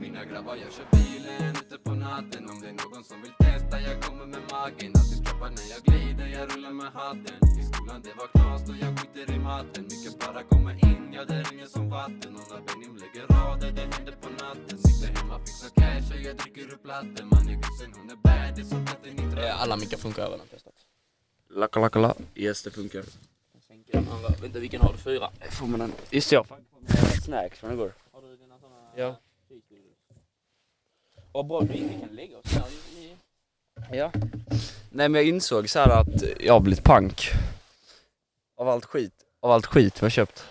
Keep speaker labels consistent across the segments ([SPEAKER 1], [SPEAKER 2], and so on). [SPEAKER 1] mina grabbar jag kör bilen ute på natten Om det är någon som vill testa jag kommer med magen Alltid droppar när jag glider, jag rullar med hatten I skolan det var knas då jag skiter i matten Mycket bara komma in, ja det ringer som vatten Och när Benim lägger rader det händer på natten Sitter hemma, fixar cash och jag dricker upp latten Man är gussen, hon är bad, det är som katten i trä
[SPEAKER 2] Eh, Alla mickar funkar över den testat.
[SPEAKER 3] Lacka, lacka, la. Yes, det funkar.
[SPEAKER 2] Vänta vilken har du? Fyra?
[SPEAKER 3] Får man en? Just det, jag har fan på mig snacks från igår.
[SPEAKER 2] Har du dina sådana?
[SPEAKER 3] Ja.
[SPEAKER 2] Vad bra du inte kan lägga oss här i...
[SPEAKER 3] Ja. Nej men jag insåg så här att jag har blivit pank. Av allt skit. Av allt skit vi har köpt.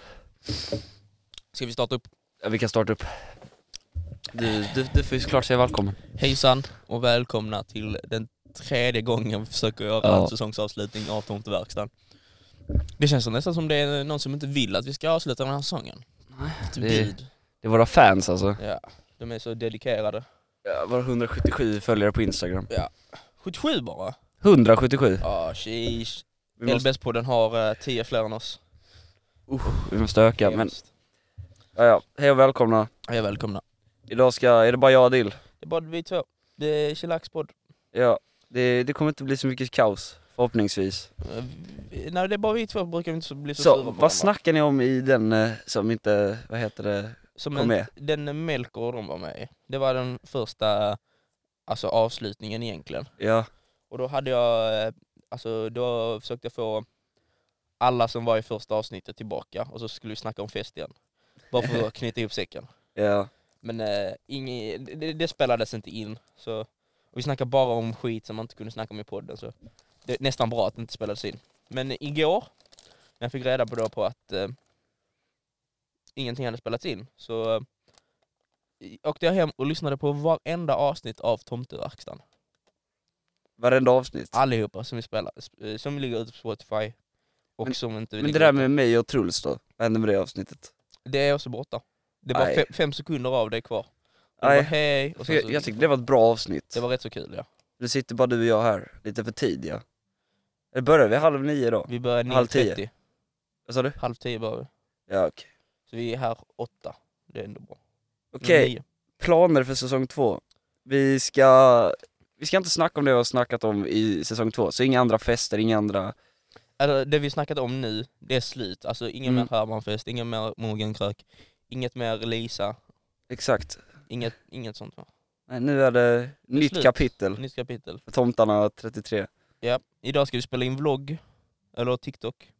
[SPEAKER 2] Ska vi starta upp?
[SPEAKER 3] Ja, vi kan starta upp. Du, du, du får ju såklart säga välkommen.
[SPEAKER 2] Hejsan och välkomna till den tredje gången vi försöker göra
[SPEAKER 3] Ja.
[SPEAKER 2] en säsongsavslutning av Tomteverkstan. Det känns som nästan som det är någon som inte vill att vi ska avsluta den här säsongen. Typ
[SPEAKER 3] det-
[SPEAKER 2] Gud.
[SPEAKER 3] Det är våra fans alltså.
[SPEAKER 2] Ja, de är så dedikerade.
[SPEAKER 3] Ja, våra 177 följare på Instagram.
[SPEAKER 2] 77 bara?
[SPEAKER 3] 177.
[SPEAKER 2] Ja, sheesh.
[SPEAKER 3] Vi måste,
[SPEAKER 2] LBS-podden har eh, 10 fler än oss.
[SPEAKER 3] vi måste öka men ja, ja. Hej och välkomna.
[SPEAKER 2] Hej välkomna.
[SPEAKER 3] Idag ska, är det bara jag och Dill?
[SPEAKER 2] Det är bara vi två. Det är Chillax-podd.
[SPEAKER 3] Ja. Det, det kommer inte bli så mycket kaos. Förhoppningsvis.
[SPEAKER 2] Eh, vi- Nej, det är bara vi två brukar vi inte så- bli så,
[SPEAKER 3] Så,
[SPEAKER 2] sura på
[SPEAKER 3] vad
[SPEAKER 2] varandra.
[SPEAKER 3] snackar ni om i den eh, som inte, vad heter det?
[SPEAKER 2] Som
[SPEAKER 3] Kom
[SPEAKER 2] en,
[SPEAKER 3] med.
[SPEAKER 2] den Melker de var med i. Det var den första alltså, avslutningen egentligen.
[SPEAKER 3] Ja.
[SPEAKER 2] Och då hade jag, eh, alltså då försökte jag få alla som var i första avsnittet tillbaka och så skulle vi snacka om fest igen. Bara för att knyta ihop säcken.
[SPEAKER 3] Ja.
[SPEAKER 2] Men eh, inge, det, det spelades inte in. Så, och vi snackade bara om skit som man inte kunde snacka om i podden. Så det är nästan bra att det inte spelades in. Men igår, när jag fick reda på, då på att eh, ingenting hade spelats in, så eh, åkte jag hem och lyssnade på varenda avsnitt av Tomteverkstan.
[SPEAKER 3] Varenda avsnitt.
[SPEAKER 2] Allihopa som vi spelar, eh, som ligger ute på Spotify. Och
[SPEAKER 3] Men-
[SPEAKER 2] som inte
[SPEAKER 3] Men det
[SPEAKER 2] ligger
[SPEAKER 3] där
[SPEAKER 2] ute.
[SPEAKER 3] med mig och Truls då, vad hände med det avsnittet?
[SPEAKER 2] det är också borta. Det var
[SPEAKER 3] Aj.
[SPEAKER 2] fem, fem sekunder av det kvar. Det
[SPEAKER 3] Aj.
[SPEAKER 2] var hej, och
[SPEAKER 3] Jag,
[SPEAKER 2] sen så,
[SPEAKER 3] jag tyckte det var ett bra avsnitt.
[SPEAKER 2] det var rätt så kul ja.
[SPEAKER 3] Nu sitter bara du och jag här, lite för tidiga. Eller börjar vi halv nio då?
[SPEAKER 2] Vi börjar
[SPEAKER 3] Halv
[SPEAKER 2] 9.30.
[SPEAKER 3] tio. Vad sa du?
[SPEAKER 2] Halv tio börjar vi.
[SPEAKER 3] Ja okej.
[SPEAKER 2] Så vi är här åtta. Det är ändå bra.
[SPEAKER 3] Okej,
[SPEAKER 2] Nio.
[SPEAKER 3] planer för säsong två. Vi ska, vi ska inte snacka om det vi har snackat om i säsong två, så inga andra fester, inga andra...
[SPEAKER 2] Alltså, det vi snackat om nu, det är slut. Alltså ingen
[SPEAKER 3] Mm.
[SPEAKER 2] mer Hermanfest, ingen mer Morgankrök, inget mer Lisa,
[SPEAKER 3] Exakt.
[SPEAKER 2] inget, inget sånt. va?
[SPEAKER 3] Nej, nu är det nytt
[SPEAKER 2] slut.
[SPEAKER 3] kapitel
[SPEAKER 2] Nytt kapitel.
[SPEAKER 3] för Tomtarna 33.
[SPEAKER 2] Ja, idag ska vi spela in vlogg, eller TikTok.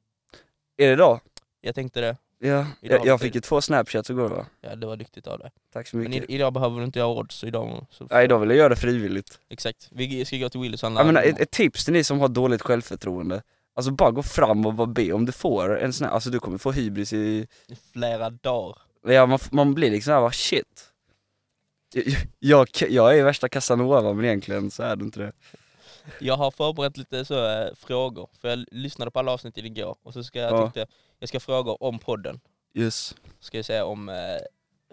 [SPEAKER 3] Är det idag?
[SPEAKER 2] Jag tänkte det.
[SPEAKER 3] Ja,
[SPEAKER 2] Idag
[SPEAKER 3] jag, jag
[SPEAKER 2] blir-
[SPEAKER 3] fick ju två snapchats igår va?
[SPEAKER 2] Ja, det var duktigt av dig.
[SPEAKER 3] Tack så
[SPEAKER 2] Men
[SPEAKER 3] mycket.
[SPEAKER 2] i, idag behöver du inte göra odds, så idag... Så,
[SPEAKER 3] Ja, idag vill jag göra det frivilligt.
[SPEAKER 2] Exakt. Vi ska gå till Willys och handla
[SPEAKER 3] Jag menar, ett,
[SPEAKER 2] blommor.
[SPEAKER 3] ett tips till ni som har dåligt självförtroende, alltså bara gå fram och bara be om du får en sån här, alltså du kommer få hybris i,
[SPEAKER 2] I flera dagar.
[SPEAKER 3] ja, man, f- man blir liksom här, va, shit. Jag, jag, jag är värsta Casanova men egentligen så är det inte det.
[SPEAKER 2] Jag har förberett lite så, eh, frågor, för jag lyssnade på alla avsnitt igår och så ska jag,
[SPEAKER 3] Ja.
[SPEAKER 2] tänkte, jag ska fråga om podden.
[SPEAKER 3] Yes.
[SPEAKER 2] ska jag säga om eh,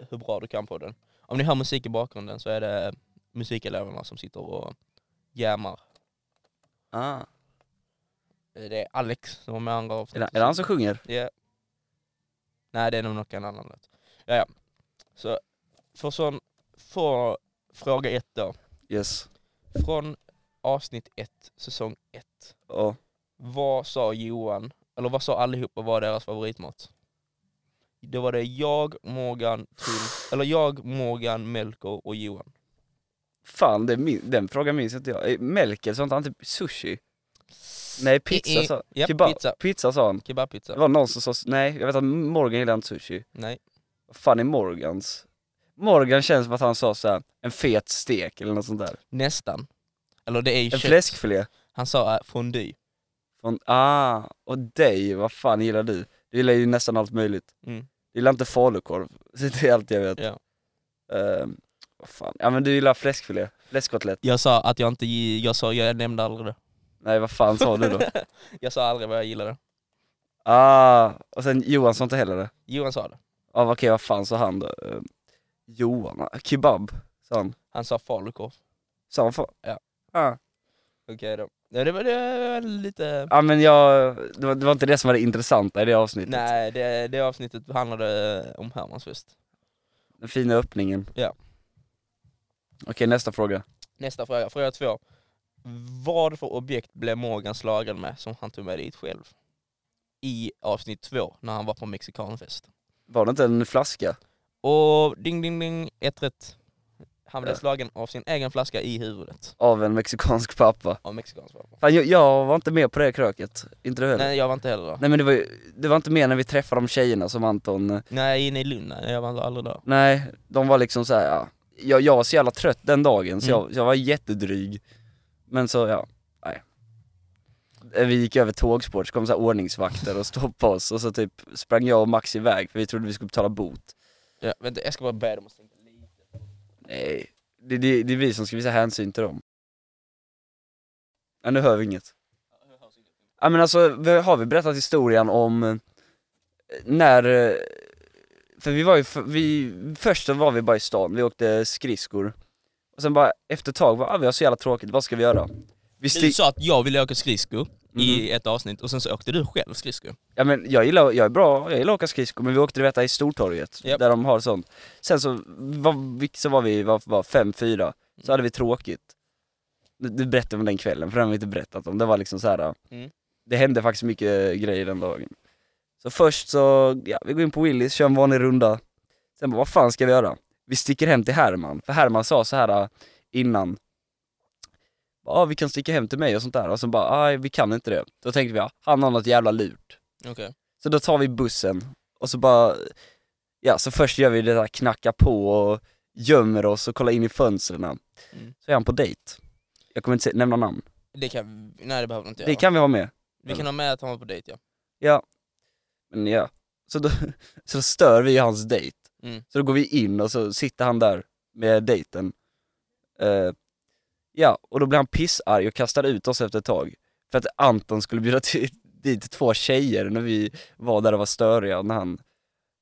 [SPEAKER 2] hur bra du kan på den. Om ni hör musik i bakgrunden så är det musikeleverna som sitter och jammar.
[SPEAKER 3] Ah.
[SPEAKER 2] Eh, Det är Alex som var med i andra
[SPEAKER 3] Är,
[SPEAKER 2] avsnittet.
[SPEAKER 3] det, är det han som sjunger?
[SPEAKER 2] Ja. Nej det är nog någon annan låt. Ja, ja. Så för sån, för fråga ett då.
[SPEAKER 3] Yes.
[SPEAKER 2] Från avsnitt ett, säsong ett.
[SPEAKER 3] Ja.
[SPEAKER 2] Vad sa Johan, eller vad sa allihopa var deras favoritmat? Då var det jag, Morgan, Tull, eller jag, Morgan, Melker och Johan.
[SPEAKER 3] Fan, det min, den frågan minns inte jag. Eh, Melker, sa inte han typ sushi? Nej, pizza sa
[SPEAKER 2] Ja,
[SPEAKER 3] kebab,
[SPEAKER 2] pizza.
[SPEAKER 3] pizza sa han. Det
[SPEAKER 2] Kebabpizza.
[SPEAKER 3] var någon som sa, s- nej jag vet att Morgan gillar inte sushi.
[SPEAKER 2] Nej.
[SPEAKER 3] Vad fan är Morgans? Morgan känns som att han sa så här, en fet stek eller något sånt där.
[SPEAKER 2] Nästan. Eller det är ju
[SPEAKER 3] En
[SPEAKER 2] kött.
[SPEAKER 3] fläskfilé?
[SPEAKER 2] Han sa äh, fondue.
[SPEAKER 3] Från, ah, och dig, vad fan gillar du? Du gillar ju nästan allt möjligt.
[SPEAKER 2] Mm.
[SPEAKER 3] Du gillar inte falukorv, Så det är allt jag vet.
[SPEAKER 2] Ja.
[SPEAKER 3] Ehm, vad fan, ja men du gillar fläskfilé, fläskkotlett.
[SPEAKER 2] Jag sa att jag inte, gi- jag sa, jag nämnde aldrig det.
[SPEAKER 3] Nej vad fan sa du då?
[SPEAKER 2] jag sa aldrig vad jag gillade.
[SPEAKER 3] ah, och sen Johan sa inte heller det.
[SPEAKER 2] Johan sa det.
[SPEAKER 3] Ja ah, okej, vad fan sa han då? Ehm, Johan, ah, kebab, sa han.
[SPEAKER 2] Han sa falukorv.
[SPEAKER 3] Sa han fa-
[SPEAKER 2] Ja.
[SPEAKER 3] Ah.
[SPEAKER 2] Okej då. Ja, det, var, det var lite...
[SPEAKER 3] Ja men jag, det var, det var inte det som var det intressanta i det avsnittet.
[SPEAKER 2] Nej, det, det avsnittet handlade eh, om Hermansfest.
[SPEAKER 3] Den fina öppningen. Okej, nästa fråga.
[SPEAKER 2] Nästa fråga, fråga två. Vad för objekt blev Morgan slagen med som han tog med dit själv? I avsnitt två, när han var på mexikanfest.
[SPEAKER 3] Var det inte en flaska?
[SPEAKER 2] Och ding ding ding, ett rätt. Han blev
[SPEAKER 3] Ja.
[SPEAKER 2] slagen av sin egen flaska i huvudet
[SPEAKER 3] Av en mexikansk pappa?
[SPEAKER 2] av mexikansk vapen.
[SPEAKER 3] Fan, jag, jag var inte med på det kröket. Inte du heller? Nej.
[SPEAKER 2] Nej jag var inte heller där.
[SPEAKER 3] men det var, ju- det var inte med när vi träffade de tjejerna som Anton... eh,
[SPEAKER 2] Nej inne i Lund, nej, jag var aldrig där.
[SPEAKER 3] Nej, de var liksom så här, ja. jag, jag var så jävla trött den dagen så
[SPEAKER 2] Mm.
[SPEAKER 3] jag, jag var jättedryg. Men så, ja, nej. Eh, Vi gick över tågspår, så kom så här ordningsvakter och stoppade oss och så typ sprang jag och Max iväg för vi trodde vi skulle betala bot.
[SPEAKER 2] Ja, vänta, jag ska bara börja dem att stänga lite.
[SPEAKER 3] Nej, det, det, det är vi som ska visa hänsyn till dem. Ja, nu hör vi inget. Ja men alltså, vi- har vi berättat historien om eh, när, eh, för vi var ju, f- vi, först så var vi bara i stan, vi åkte skridskor. Och sen bara efter ett tag, bara, ah, vi har så jävla tråkigt, vad ska vi Mm. göra? Vi
[SPEAKER 2] Du
[SPEAKER 3] sti- Mhm.
[SPEAKER 2] sa att jag ville åka skridsko i ett avsnitt och sen så åkte du själv skridsko.
[SPEAKER 3] ja men jag gillar, jag är bra, jag gillar att åka skridskor men vi åkte du vet i Stortorget,
[SPEAKER 2] Japp.
[SPEAKER 3] där de har sånt. Sen så var, vi- så var vi, var, var fem, fyra, så hade vi tråkigt. Du, du berättade om den kvällen, för den har vi inte berättat om. Det var liksom så här.
[SPEAKER 2] Mm.
[SPEAKER 3] det hände faktiskt mycket grejer den dagen. Så först så, ja vi går in på Willys, kör en vanlig runda. Sen bara, vad fan ska vi göra? Vi sticker hem till Herman, för Herman sa så här äh, innan. Ja, ah, vi kan sticka hem till mig och sånt där. Och så bara, nej vi kan inte det. Då tänkte vi, ja, han har något jävla lurt.
[SPEAKER 2] Okej.
[SPEAKER 3] Så då tar vi bussen och så bara, ja så först gör vi det där knacka på och gömmer oss och kollar in i fönstren. Så är han på dejt. Jag kommer inte se- nämna namn.
[SPEAKER 2] Det kan, nej det behöver du inte göra.
[SPEAKER 3] Det kan vi ha med.
[SPEAKER 2] Vi kan ha med att han var på dejt ja.
[SPEAKER 3] Men ja. Så då, så då stör vi hans dejt.
[SPEAKER 2] Mm.
[SPEAKER 3] Så då går vi in och så sitter han där med dejten. Eh, ja, och då blir han pissarg och kastar ut oss efter ett tag. För att Anton skulle bjuda till, dit två tjejer när vi var där och var störiga när han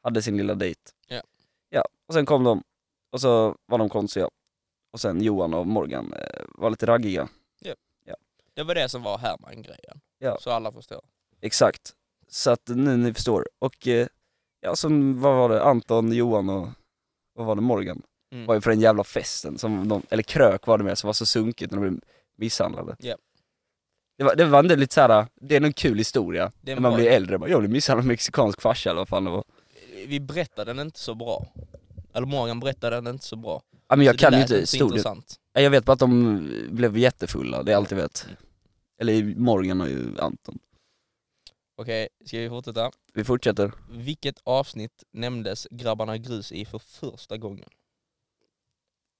[SPEAKER 3] hade sin lilla dejt.
[SPEAKER 2] Ja.
[SPEAKER 3] ja, och sen kom de och så var de konstiga. Och sen Johan och Morgan eh, var lite raggiga.
[SPEAKER 2] Det var det som var Herman-grejen.
[SPEAKER 3] Ja.
[SPEAKER 2] Så alla förstår.
[SPEAKER 3] Exakt. Så att nu ni förstår. Och eh, ja, som, vad var det, Anton, Johan och vad var det, Morgan?
[SPEAKER 2] Mm.
[SPEAKER 3] Var ju på den jävla festen, som de, eller krök var det med, som var så sunkigt när de blev misshandlade.
[SPEAKER 2] Ja.
[SPEAKER 3] Det var, det var ändå lite såhär, det är nog en kul historia.
[SPEAKER 2] Det är
[SPEAKER 3] När man
[SPEAKER 2] bra.
[SPEAKER 3] blir äldre, bara, jag blev misshandlad av en mexikansk farsa eller vad fan det var.
[SPEAKER 2] Vi berättade den inte så bra. Eller Morgan berättade den inte så bra.
[SPEAKER 3] Ja men jag
[SPEAKER 2] så
[SPEAKER 3] kan
[SPEAKER 2] det
[SPEAKER 3] ju
[SPEAKER 2] lät
[SPEAKER 3] inte
[SPEAKER 2] så
[SPEAKER 3] historien.
[SPEAKER 2] intressant.
[SPEAKER 3] Jag vet bara att de blev jättefulla, det är allt jag vet.
[SPEAKER 2] Mm.
[SPEAKER 3] Eller Morgan och ju Anton.
[SPEAKER 2] Okej, ska vi fortsätta?
[SPEAKER 3] Vi fortsätter.
[SPEAKER 2] Vilket avsnitt nämndes Grabbarna Grus i för första gången?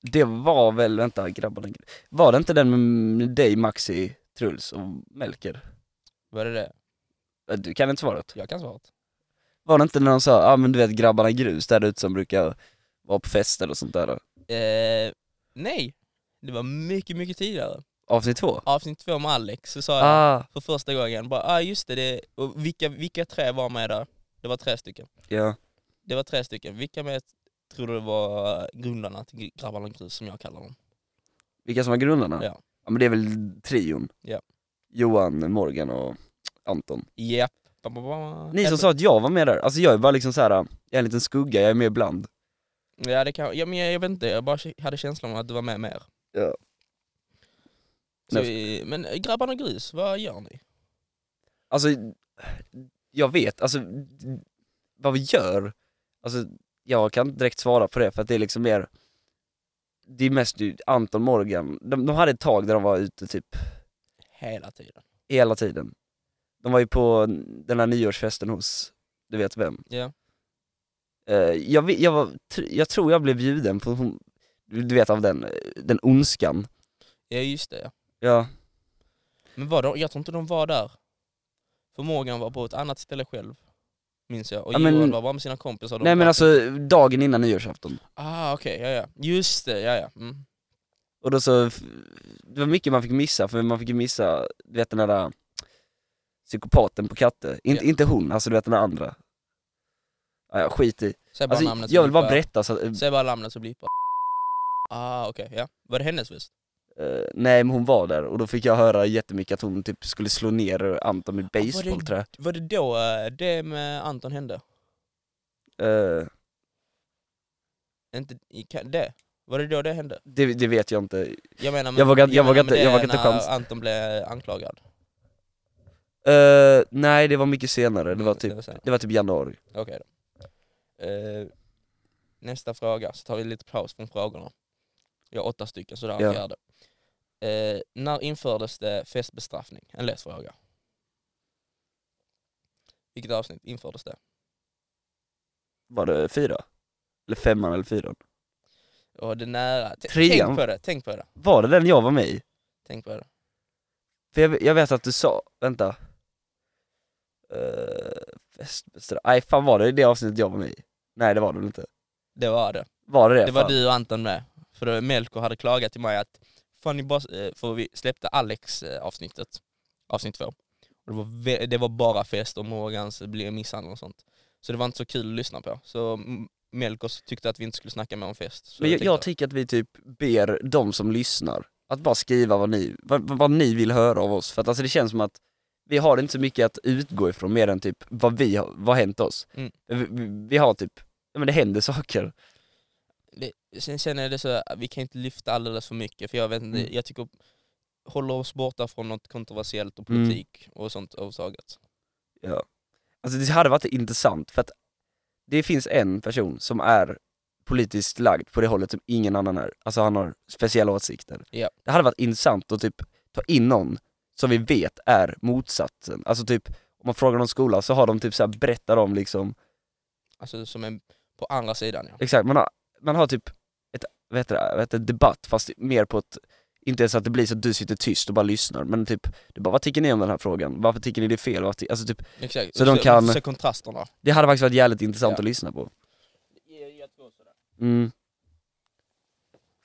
[SPEAKER 3] Det var väl, vänta grabbarna, var det inte den med dig Maxi, Truls och Melker?
[SPEAKER 2] Var det det?
[SPEAKER 3] Äh, Du kan inte svaret.
[SPEAKER 2] Jag kan svaret.
[SPEAKER 3] Var det inte när de sa, ja ah, men du vet grabbarna grus där ute som brukar vara på fester och sånt där?
[SPEAKER 2] Eh, nej, det var mycket, mycket tidigare.
[SPEAKER 3] Avsnitt två?
[SPEAKER 2] Avsnitt två med Alex så sa jag
[SPEAKER 3] Ah,
[SPEAKER 2] för första gången bara, ah, just det, det och vilka, vilka tre var med där? Det var tre stycken.
[SPEAKER 3] ja.
[SPEAKER 2] Det var tre stycken. Vilka med tror du var grundarna till Grabbarna Grus som jag kallar dem?
[SPEAKER 3] Vilka som var grundarna?
[SPEAKER 2] Ja.
[SPEAKER 3] ja men det är väl trion?
[SPEAKER 2] Ja.
[SPEAKER 3] Johan, Morgan och Anton.
[SPEAKER 2] Japp. Ba, ba, ba.
[SPEAKER 3] Ni som
[SPEAKER 2] Eller-
[SPEAKER 3] sa att jag var med där, alltså jag är bara liksom så här, jag är en liten skugga, jag är med ibland.
[SPEAKER 2] Ja, det kan, ja men jag, jag vet inte, jag bara hade känslan av att du var med mer.
[SPEAKER 3] Ja.
[SPEAKER 2] Så vi, men eh, Grabbarna Grus, vad gör ni?
[SPEAKER 3] Alltså, jag vet, alltså vad vi gör, alltså jag kan inte direkt svara på det för att det är liksom mer, det är mest ju Anton Morgan, de, de hade ett tag där de var ute typ
[SPEAKER 2] Hela tiden.
[SPEAKER 3] hela tiden. De var ju på den här nyårsfesten hos, du vet vem.
[SPEAKER 2] Ja.
[SPEAKER 3] Eh, jag, vet- jag, var, tr- jag tror jag blev bjuden på, hon- du vet av den, eh, den ondskan.
[SPEAKER 2] Ja just det ja.
[SPEAKER 3] Ja,
[SPEAKER 2] Men var de, jag tror inte de var där. För Morgan var på ett annat ställe själv. Minns jag. Och
[SPEAKER 3] Ja, men-
[SPEAKER 2] Johan var bara med sina kompisar. De
[SPEAKER 3] nej men
[SPEAKER 2] bara-
[SPEAKER 3] alltså dagen innan nyårsafton.
[SPEAKER 2] Ah okej, ja ja. Just det, ja ja. Mm.
[SPEAKER 3] Och då så, det var mycket man fick missa, för man fick ju missa, du vet den där psykopaten på Katte. In,
[SPEAKER 2] Ja.
[SPEAKER 3] Inte hon, alltså du vet den andra. Ja, ja, skit i.
[SPEAKER 2] Säg bara
[SPEAKER 3] Alltså,
[SPEAKER 2] namnet så
[SPEAKER 3] jag vill bara
[SPEAKER 2] blippar jag.
[SPEAKER 3] berätta så att,
[SPEAKER 2] Säg bara namnet så blippar jag. Ah okej, ja. Var det hennes fest?
[SPEAKER 3] eh, nej men hon var där och då fick jag höra jättemycket att hon typ skulle slå ner Anton med
[SPEAKER 2] det-
[SPEAKER 3] basebollträ.
[SPEAKER 2] Var det då eh, det med Anton hände?
[SPEAKER 3] Eh,
[SPEAKER 2] Inte, i- kan- det? Var det då det hände?
[SPEAKER 3] Det, det vet jag inte.
[SPEAKER 2] Jag menar, men,
[SPEAKER 3] Jag vågar- jag
[SPEAKER 2] menar,
[SPEAKER 3] vågar
[SPEAKER 2] men
[SPEAKER 3] inte-
[SPEAKER 2] det
[SPEAKER 3] jag
[SPEAKER 2] är
[SPEAKER 3] vågar inte
[SPEAKER 2] när
[SPEAKER 3] chans.
[SPEAKER 2] Anton blev anklagad.
[SPEAKER 3] Eh, nej, det var mycket senare. Det var
[SPEAKER 2] Mm,
[SPEAKER 3] typ,
[SPEAKER 2] det var sen.
[SPEAKER 3] det var typ januari.
[SPEAKER 2] Okej då. Eh, nästa fråga, så tar vi lite paus från frågorna. Jag har åtta stycken, så där
[SPEAKER 3] Ja.
[SPEAKER 2] är fjärde. Eh, när infördes det festbestraffning? En lätt fråga. Vilket avsnitt infördes det?
[SPEAKER 3] Var det fyra? Eller femman eller fyran?
[SPEAKER 2] Och det är nära. T-
[SPEAKER 3] Trean.
[SPEAKER 2] Tänk på det, tänk på det.
[SPEAKER 3] Var det den jag var med i?
[SPEAKER 2] Tänk på det.
[SPEAKER 3] För jag, jag vet att du sa, vänta. Uh, Västbestra... Nej fan var det det avsnittet jag var med i? Nej det var det väl inte.
[SPEAKER 2] Det var det.
[SPEAKER 3] Var det det?
[SPEAKER 2] Det var
[SPEAKER 3] Fan.
[SPEAKER 2] du och Anton med. För då Melko hade klagat till mig att fan ni bara, eh, för vi släppte Alex eh, avsnittet, avsnitt två. Och det, var vä- det var bara fest och Morgans blev misshandel och sånt. Så det var inte så kul att lyssna på. Så M- Melko tyckte att vi inte skulle snacka mer om fest. Så
[SPEAKER 3] Men jag,
[SPEAKER 2] tänkte
[SPEAKER 3] jag tycker att vi typ ber de som lyssnar att bara skriva vad ni, vad, vad- vad ni vill höra av oss. För att alltså det känns som att vi har inte så mycket att utgå ifrån mer än typ vad vi har, vad har hänt oss.
[SPEAKER 2] Mm.
[SPEAKER 3] Vi, vi- vi har typ, ja men det händer saker.
[SPEAKER 2] det, sen känner jag det så, att vi kan inte lyfta alldeles för mycket för jag vet inte,
[SPEAKER 3] Mm.
[SPEAKER 2] jag tycker håller oss borta från något kontroversiellt och
[SPEAKER 3] Mm.
[SPEAKER 2] politik och sånt överhuvudtaget.
[SPEAKER 3] Alltså det hade varit intressant för att det finns en person som är politiskt lagd på det hållet som ingen annan är. Alltså han har speciella åsikter.
[SPEAKER 2] Ja.
[SPEAKER 3] Det hade varit intressant att typ ta in någon som vi vet är motsatsen. Alltså typ, om man frågar någon skola så har de typ så här berättar om liksom
[SPEAKER 2] Alltså som är på andra sidan ja.
[SPEAKER 3] Exakt, man har, man har typ ett, vad heter det, vad heter det, debatt fast mer på ett, inte ens att det blir så att du sitter tyst och bara lyssnar men typ, du bara vad tycker ni om den här frågan? Varför tycker ni det är fel? Varför ty- Alltså typ,
[SPEAKER 2] Exakt.
[SPEAKER 3] Så de kan-
[SPEAKER 2] se kontrasterna.
[SPEAKER 3] det hade faktiskt varit jävligt intressant
[SPEAKER 2] Ja.
[SPEAKER 3] att lyssna på.
[SPEAKER 2] Jag tror så
[SPEAKER 3] Mm.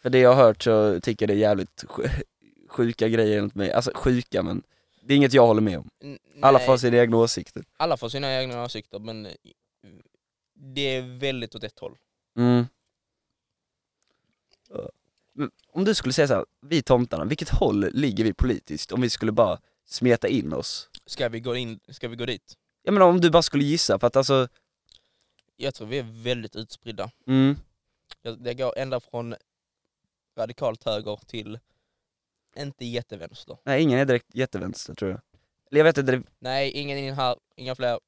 [SPEAKER 3] För det jag har hört så tycker jag det är jävligt sj- sjuka grejer enligt mig, alltså sjuka men det är inget jag håller med om.
[SPEAKER 2] N-
[SPEAKER 3] Alla
[SPEAKER 2] nej,
[SPEAKER 3] får sina egna åsikter.
[SPEAKER 2] alla får sina egna åsikter men eh, det är väldigt åt ett håll.
[SPEAKER 3] Mm. Men Om du skulle säga så här, vi tomtarna, vilket håll ligger vi politiskt om vi skulle bara smeta in oss?
[SPEAKER 2] Ska vi gå, in, ska vi gå dit?
[SPEAKER 3] Jag menar om du bara skulle gissa, för att alltså,
[SPEAKER 2] Jag tror vi är väldigt utspridda.
[SPEAKER 3] mm,
[SPEAKER 2] Jag- Det går ända från radikalt höger till inte jättevänster.
[SPEAKER 3] nej ingen är direkt jättevänster tror jag. Eller jag vet inte, det...
[SPEAKER 2] Nej, ingen in här, inga fler.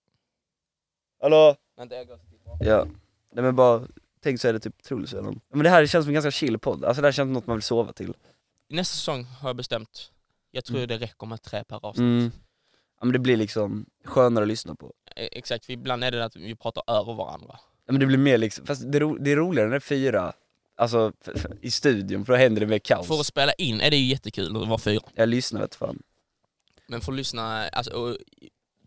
[SPEAKER 3] Hallå?
[SPEAKER 2] Vänta, jag går tillbaka.
[SPEAKER 3] Ja, nej men bara, tänk så är det typ Truls eller någon. Men det här känns som en ganska chill podd, alltså det här känns som något man vill sova till.
[SPEAKER 2] Nästa säsong har jag bestämt. Jag tror det räcker med tre per avsnitt.
[SPEAKER 3] Mm. Ja men det blir liksom skönare att lyssna på.
[SPEAKER 2] Eh, Exakt, för ibland är det att vi pratar över varandra.
[SPEAKER 3] Ja, men det blir mer liksom, fast det, ro... det är roligare när det är fyra, alltså f- f- i studion, för då händer det mer kaos.
[SPEAKER 2] För att spela in är det ju jättekul att vara fyra.
[SPEAKER 3] Jag lyssnar vet fan.
[SPEAKER 2] Men för att lyssna alltså, och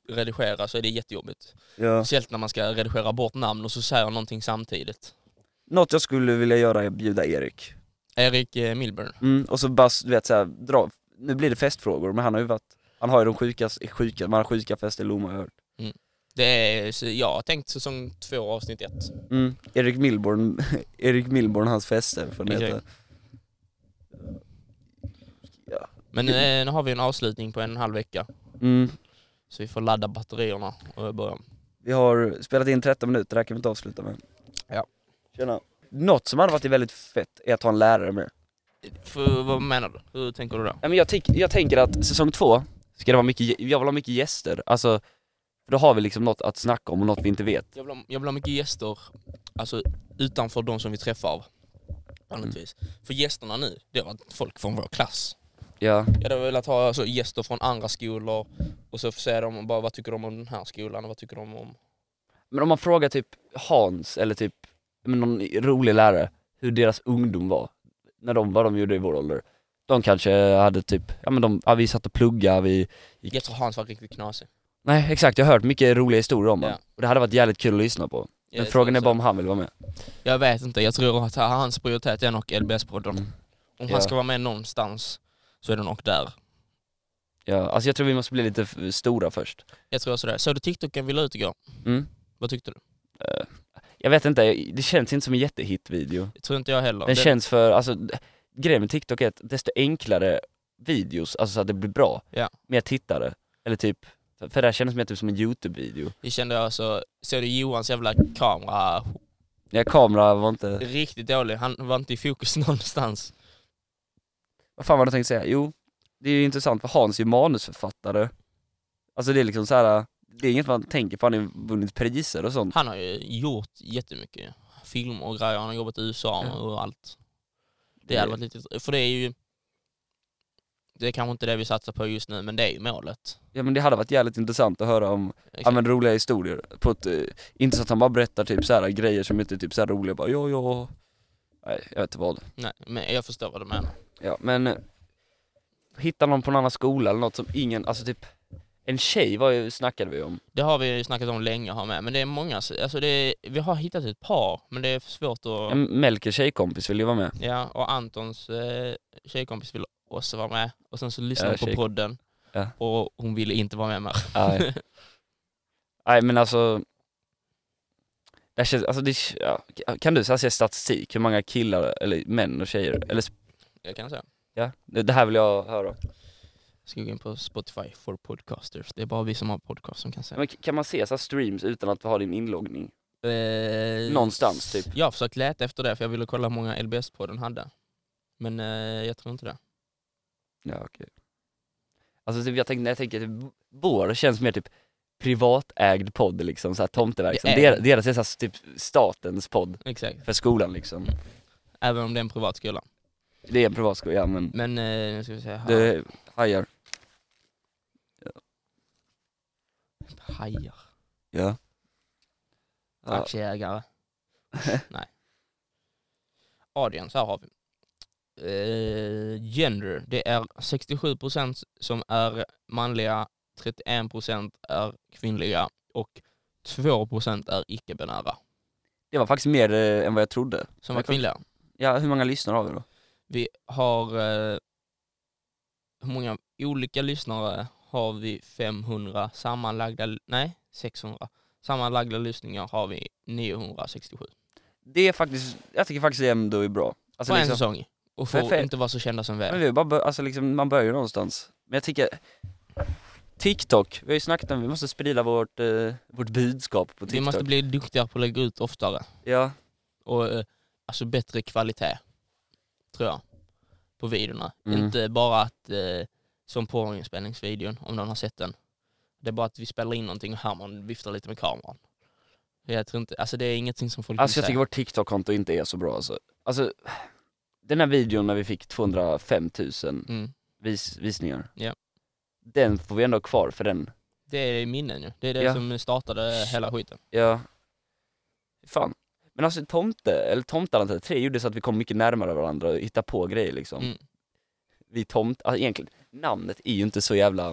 [SPEAKER 2] redigera så är det jättejobbigt.
[SPEAKER 3] Ja.
[SPEAKER 2] Speciellt när man ska redigera bort namn och så säger någonting samtidigt.
[SPEAKER 3] Något jag skulle vilja göra är att bjuda Erik.
[SPEAKER 2] Erik eh, Milburn.
[SPEAKER 3] Mm, och så bara, du vet såhär, dra, nu blir det festfrågor, men han har ju varit, han har ju de sjukaste, sjuka, man har sjuka fester i Lomma har jag hört.
[SPEAKER 2] Det är, så jag har tänkt säsong två avsnitt ett.
[SPEAKER 3] Mm. Erik Milborn, Erik Milborn och hans fester får det heta.
[SPEAKER 2] Exakt. Men eh, nu har vi en avslutning på en och en halv vecka.
[SPEAKER 3] Mm.
[SPEAKER 2] Så vi får ladda batterierna och börja.
[SPEAKER 3] Vi har spelat in 13 minuter, det här kan vi inte avsluta med.
[SPEAKER 2] Ja.
[SPEAKER 3] Tjena. Något som hade varit väldigt fett är att ha en lärare med.
[SPEAKER 2] För, vad menar du? Hur tänker du då?
[SPEAKER 3] Nej, men jag, tyck, jag tänker att säsong två ska det vara mycket, gä- jag vill ha mycket gäster, alltså för då har vi liksom något att snacka om och något vi inte vet.
[SPEAKER 2] Jag vill ha, jag vill ha mycket gäster, alltså utanför de som vi träffar. Vanligtvis. För gästerna nu, det har varit folk från vår klass.
[SPEAKER 3] Ja.
[SPEAKER 2] Jag hade velat ha alltså, gäster från andra skolor och så säger de bara vad tycker de om den här skolan och vad tycker de om...
[SPEAKER 3] Men om man frågar typ Hans eller typ men någon rolig lärare hur deras ungdom var, när de, vad de gjorde i vår ålder. De kanske hade typ, ja men de, ja, vi satt och pluggade, vi... Gick,
[SPEAKER 2] Jag tror Hans var riktigt knasig.
[SPEAKER 3] Nej exakt, jag har hört mycket roliga historier om honom.
[SPEAKER 2] Ja.
[SPEAKER 3] Och det hade varit jävligt kul att lyssna på. Men
[SPEAKER 2] Jag
[SPEAKER 3] frågan
[SPEAKER 2] tror
[SPEAKER 3] är bara
[SPEAKER 2] så.
[SPEAKER 3] om han vill vara med.
[SPEAKER 2] Jag vet inte, jag tror att hans prioritet är nog LBS-podden.
[SPEAKER 3] Mm.
[SPEAKER 2] Om
[SPEAKER 3] Ja.
[SPEAKER 2] han ska vara med någonstans så är det nog där.
[SPEAKER 3] Ja, alltså jag tror vi måste bli lite f- stora först.
[SPEAKER 2] Jag tror sådär. Såg du TikToken vi la ut igår?
[SPEAKER 3] Mm.
[SPEAKER 2] Vad tyckte du?
[SPEAKER 3] Jag vet inte, det känns inte som en jättehit video.
[SPEAKER 2] Det tror inte jag heller.
[SPEAKER 3] Den
[SPEAKER 2] Det-
[SPEAKER 3] känns för, alltså d- grejen med TikTok är att desto enklare videos, alltså så att det blir bra,
[SPEAKER 2] Ja.
[SPEAKER 3] mer tittare. Eller typ, för- för det här känns mer typ som en YouTube-video.
[SPEAKER 2] Det kände jag så, såg du Johans jävla kamera
[SPEAKER 3] Ja, kamera var inte...
[SPEAKER 2] Riktigt dålig, han var inte i fokus någonstans.
[SPEAKER 3] Vad fan var det jag tänkte säga? Jo, det är ju intressant för Hans är ju manusförfattare. Alltså det är liksom så här. det är inget man tänker på, han har ju vunnit priser och sånt.
[SPEAKER 2] Han har ju gjort jättemycket filmer och grejer, han har jobbat i USA
[SPEAKER 3] Ja.
[SPEAKER 2] och allt. Det hade varit lite, för det är ju det är kanske inte det vi satsar på just nu, men det är ju målet.
[SPEAKER 3] Ja men det hade varit jävligt intressant att höra om Ja men roliga historier, på ett, eh, inte så att han bara berättar typ så här grejer som inte är typ så här roliga, bara ja ja Nej jag vet inte vad.
[SPEAKER 2] Nej, men jag förstår vad du menar.
[SPEAKER 3] Ja men eh, Hitta någon på en annan skola eller något som ingen, alltså typ En tjej var ju, snackade vi om.
[SPEAKER 2] Det har vi ju snackat om länge här med, men det är många, alltså det är, vi har hittat ett par, men det är svårt att...
[SPEAKER 3] En Melkers tjejkompis ville ju vara med.
[SPEAKER 2] Ja, och Antons eh, tjejkompis ville också vara med. Och sen så lyssnade
[SPEAKER 3] Ja,
[SPEAKER 2] hon på
[SPEAKER 3] tjej-
[SPEAKER 2] podden.
[SPEAKER 3] Ja.
[SPEAKER 2] Och hon ville inte vara med mer.
[SPEAKER 3] Nej. Nej men alltså det här känns, alltså det, ja, kan du så här se statistik, hur många killar, eller män och tjejer, eller sp-
[SPEAKER 2] Jag kan säga.
[SPEAKER 3] ja, det, det här vill jag höra.
[SPEAKER 2] Jag ska gå in på Spotify for podcasters. Det är bara vi som har podcast som kan säga.
[SPEAKER 3] Men kan man se så här streams utan att ha din inloggning?
[SPEAKER 2] Eh,
[SPEAKER 3] Någonstans, typ.
[SPEAKER 2] Jag har försökt leta efter det för jag ville kolla hur många LBS-podden hade. Men eh, jag tror inte det.
[SPEAKER 3] Ja, okej. Alltså typ, jag tänker, när jag tänker typ, vår känns mer typ privatägd podd liksom, såhär tomteverksam.
[SPEAKER 2] Det är-
[SPEAKER 3] Deras, deras är såhär typ statens podd
[SPEAKER 2] Exakt.
[SPEAKER 3] för skolan liksom.
[SPEAKER 2] Även om det är en privat skola.
[SPEAKER 3] Det är en privatskola, ja men
[SPEAKER 2] Men eh, nu ska vi se här.
[SPEAKER 3] det hajar.
[SPEAKER 2] Hajar.
[SPEAKER 3] Ja. ja.
[SPEAKER 2] Aktieägare. Nej. Audience, här har vi. Eh, gender, det är 67% som är manliga, 31% är kvinnliga och 2% är icke-binära
[SPEAKER 3] Det var faktiskt mer eh, än vad jag trodde.
[SPEAKER 2] som är kvinnliga.
[SPEAKER 3] Ja, hur många lyssnare har vi då?
[SPEAKER 2] Vi har... Eh, hur många olika lyssnare har vi? 500 sammanlagda... Nej, 600. Sammanlagda lyssningar har vi 967.
[SPEAKER 3] Det är faktiskt, jag tycker faktiskt det ändå är bra. Alltså,
[SPEAKER 2] på en
[SPEAKER 3] liksom,
[SPEAKER 2] säsong. Och
[SPEAKER 3] Men
[SPEAKER 2] får
[SPEAKER 3] för-
[SPEAKER 2] inte vara så kända som vi
[SPEAKER 3] men
[SPEAKER 2] är.
[SPEAKER 3] det är bara, bör- alltså, liksom, man börjar ju någonstans. Men jag tycker, TikTok, vi har ju snackat om vi måste sprida vårt, eh, vårt budskap på TikTok.
[SPEAKER 2] Vi måste bli duktigare på att lägga ut oftare.
[SPEAKER 3] Ja,
[SPEAKER 2] Och eh, alltså bättre kvalitet, tror jag, på videorna.
[SPEAKER 3] Mm.
[SPEAKER 2] Inte bara att, eh, som på inspelningsvideon, om någon har sett den. Det är bara att vi spelar in någonting och Herman viftar lite med kameran. Jag tror inte, alltså det är ingenting som folk
[SPEAKER 3] Alltså
[SPEAKER 2] vill
[SPEAKER 3] jag tycker
[SPEAKER 2] se.
[SPEAKER 3] vårt TikTok-konto inte är så bra alltså. alltså den här videon när vi fick 205 000
[SPEAKER 2] Mm.
[SPEAKER 3] vis- visningar.
[SPEAKER 2] Ja.
[SPEAKER 3] Den får vi ändå ha kvar för den.
[SPEAKER 2] Det är minnen ju. Det är det
[SPEAKER 3] Ja.
[SPEAKER 2] som startade hela skiten.
[SPEAKER 3] Ja. Fan. Men alltså tomte, eller tomtalandet 3 gjorde så att vi kom mycket närmare varandra och hittade på grejer liksom.
[SPEAKER 2] Mm.
[SPEAKER 3] Vi tomt, alltså egentligen, namnet är ju inte så jävla,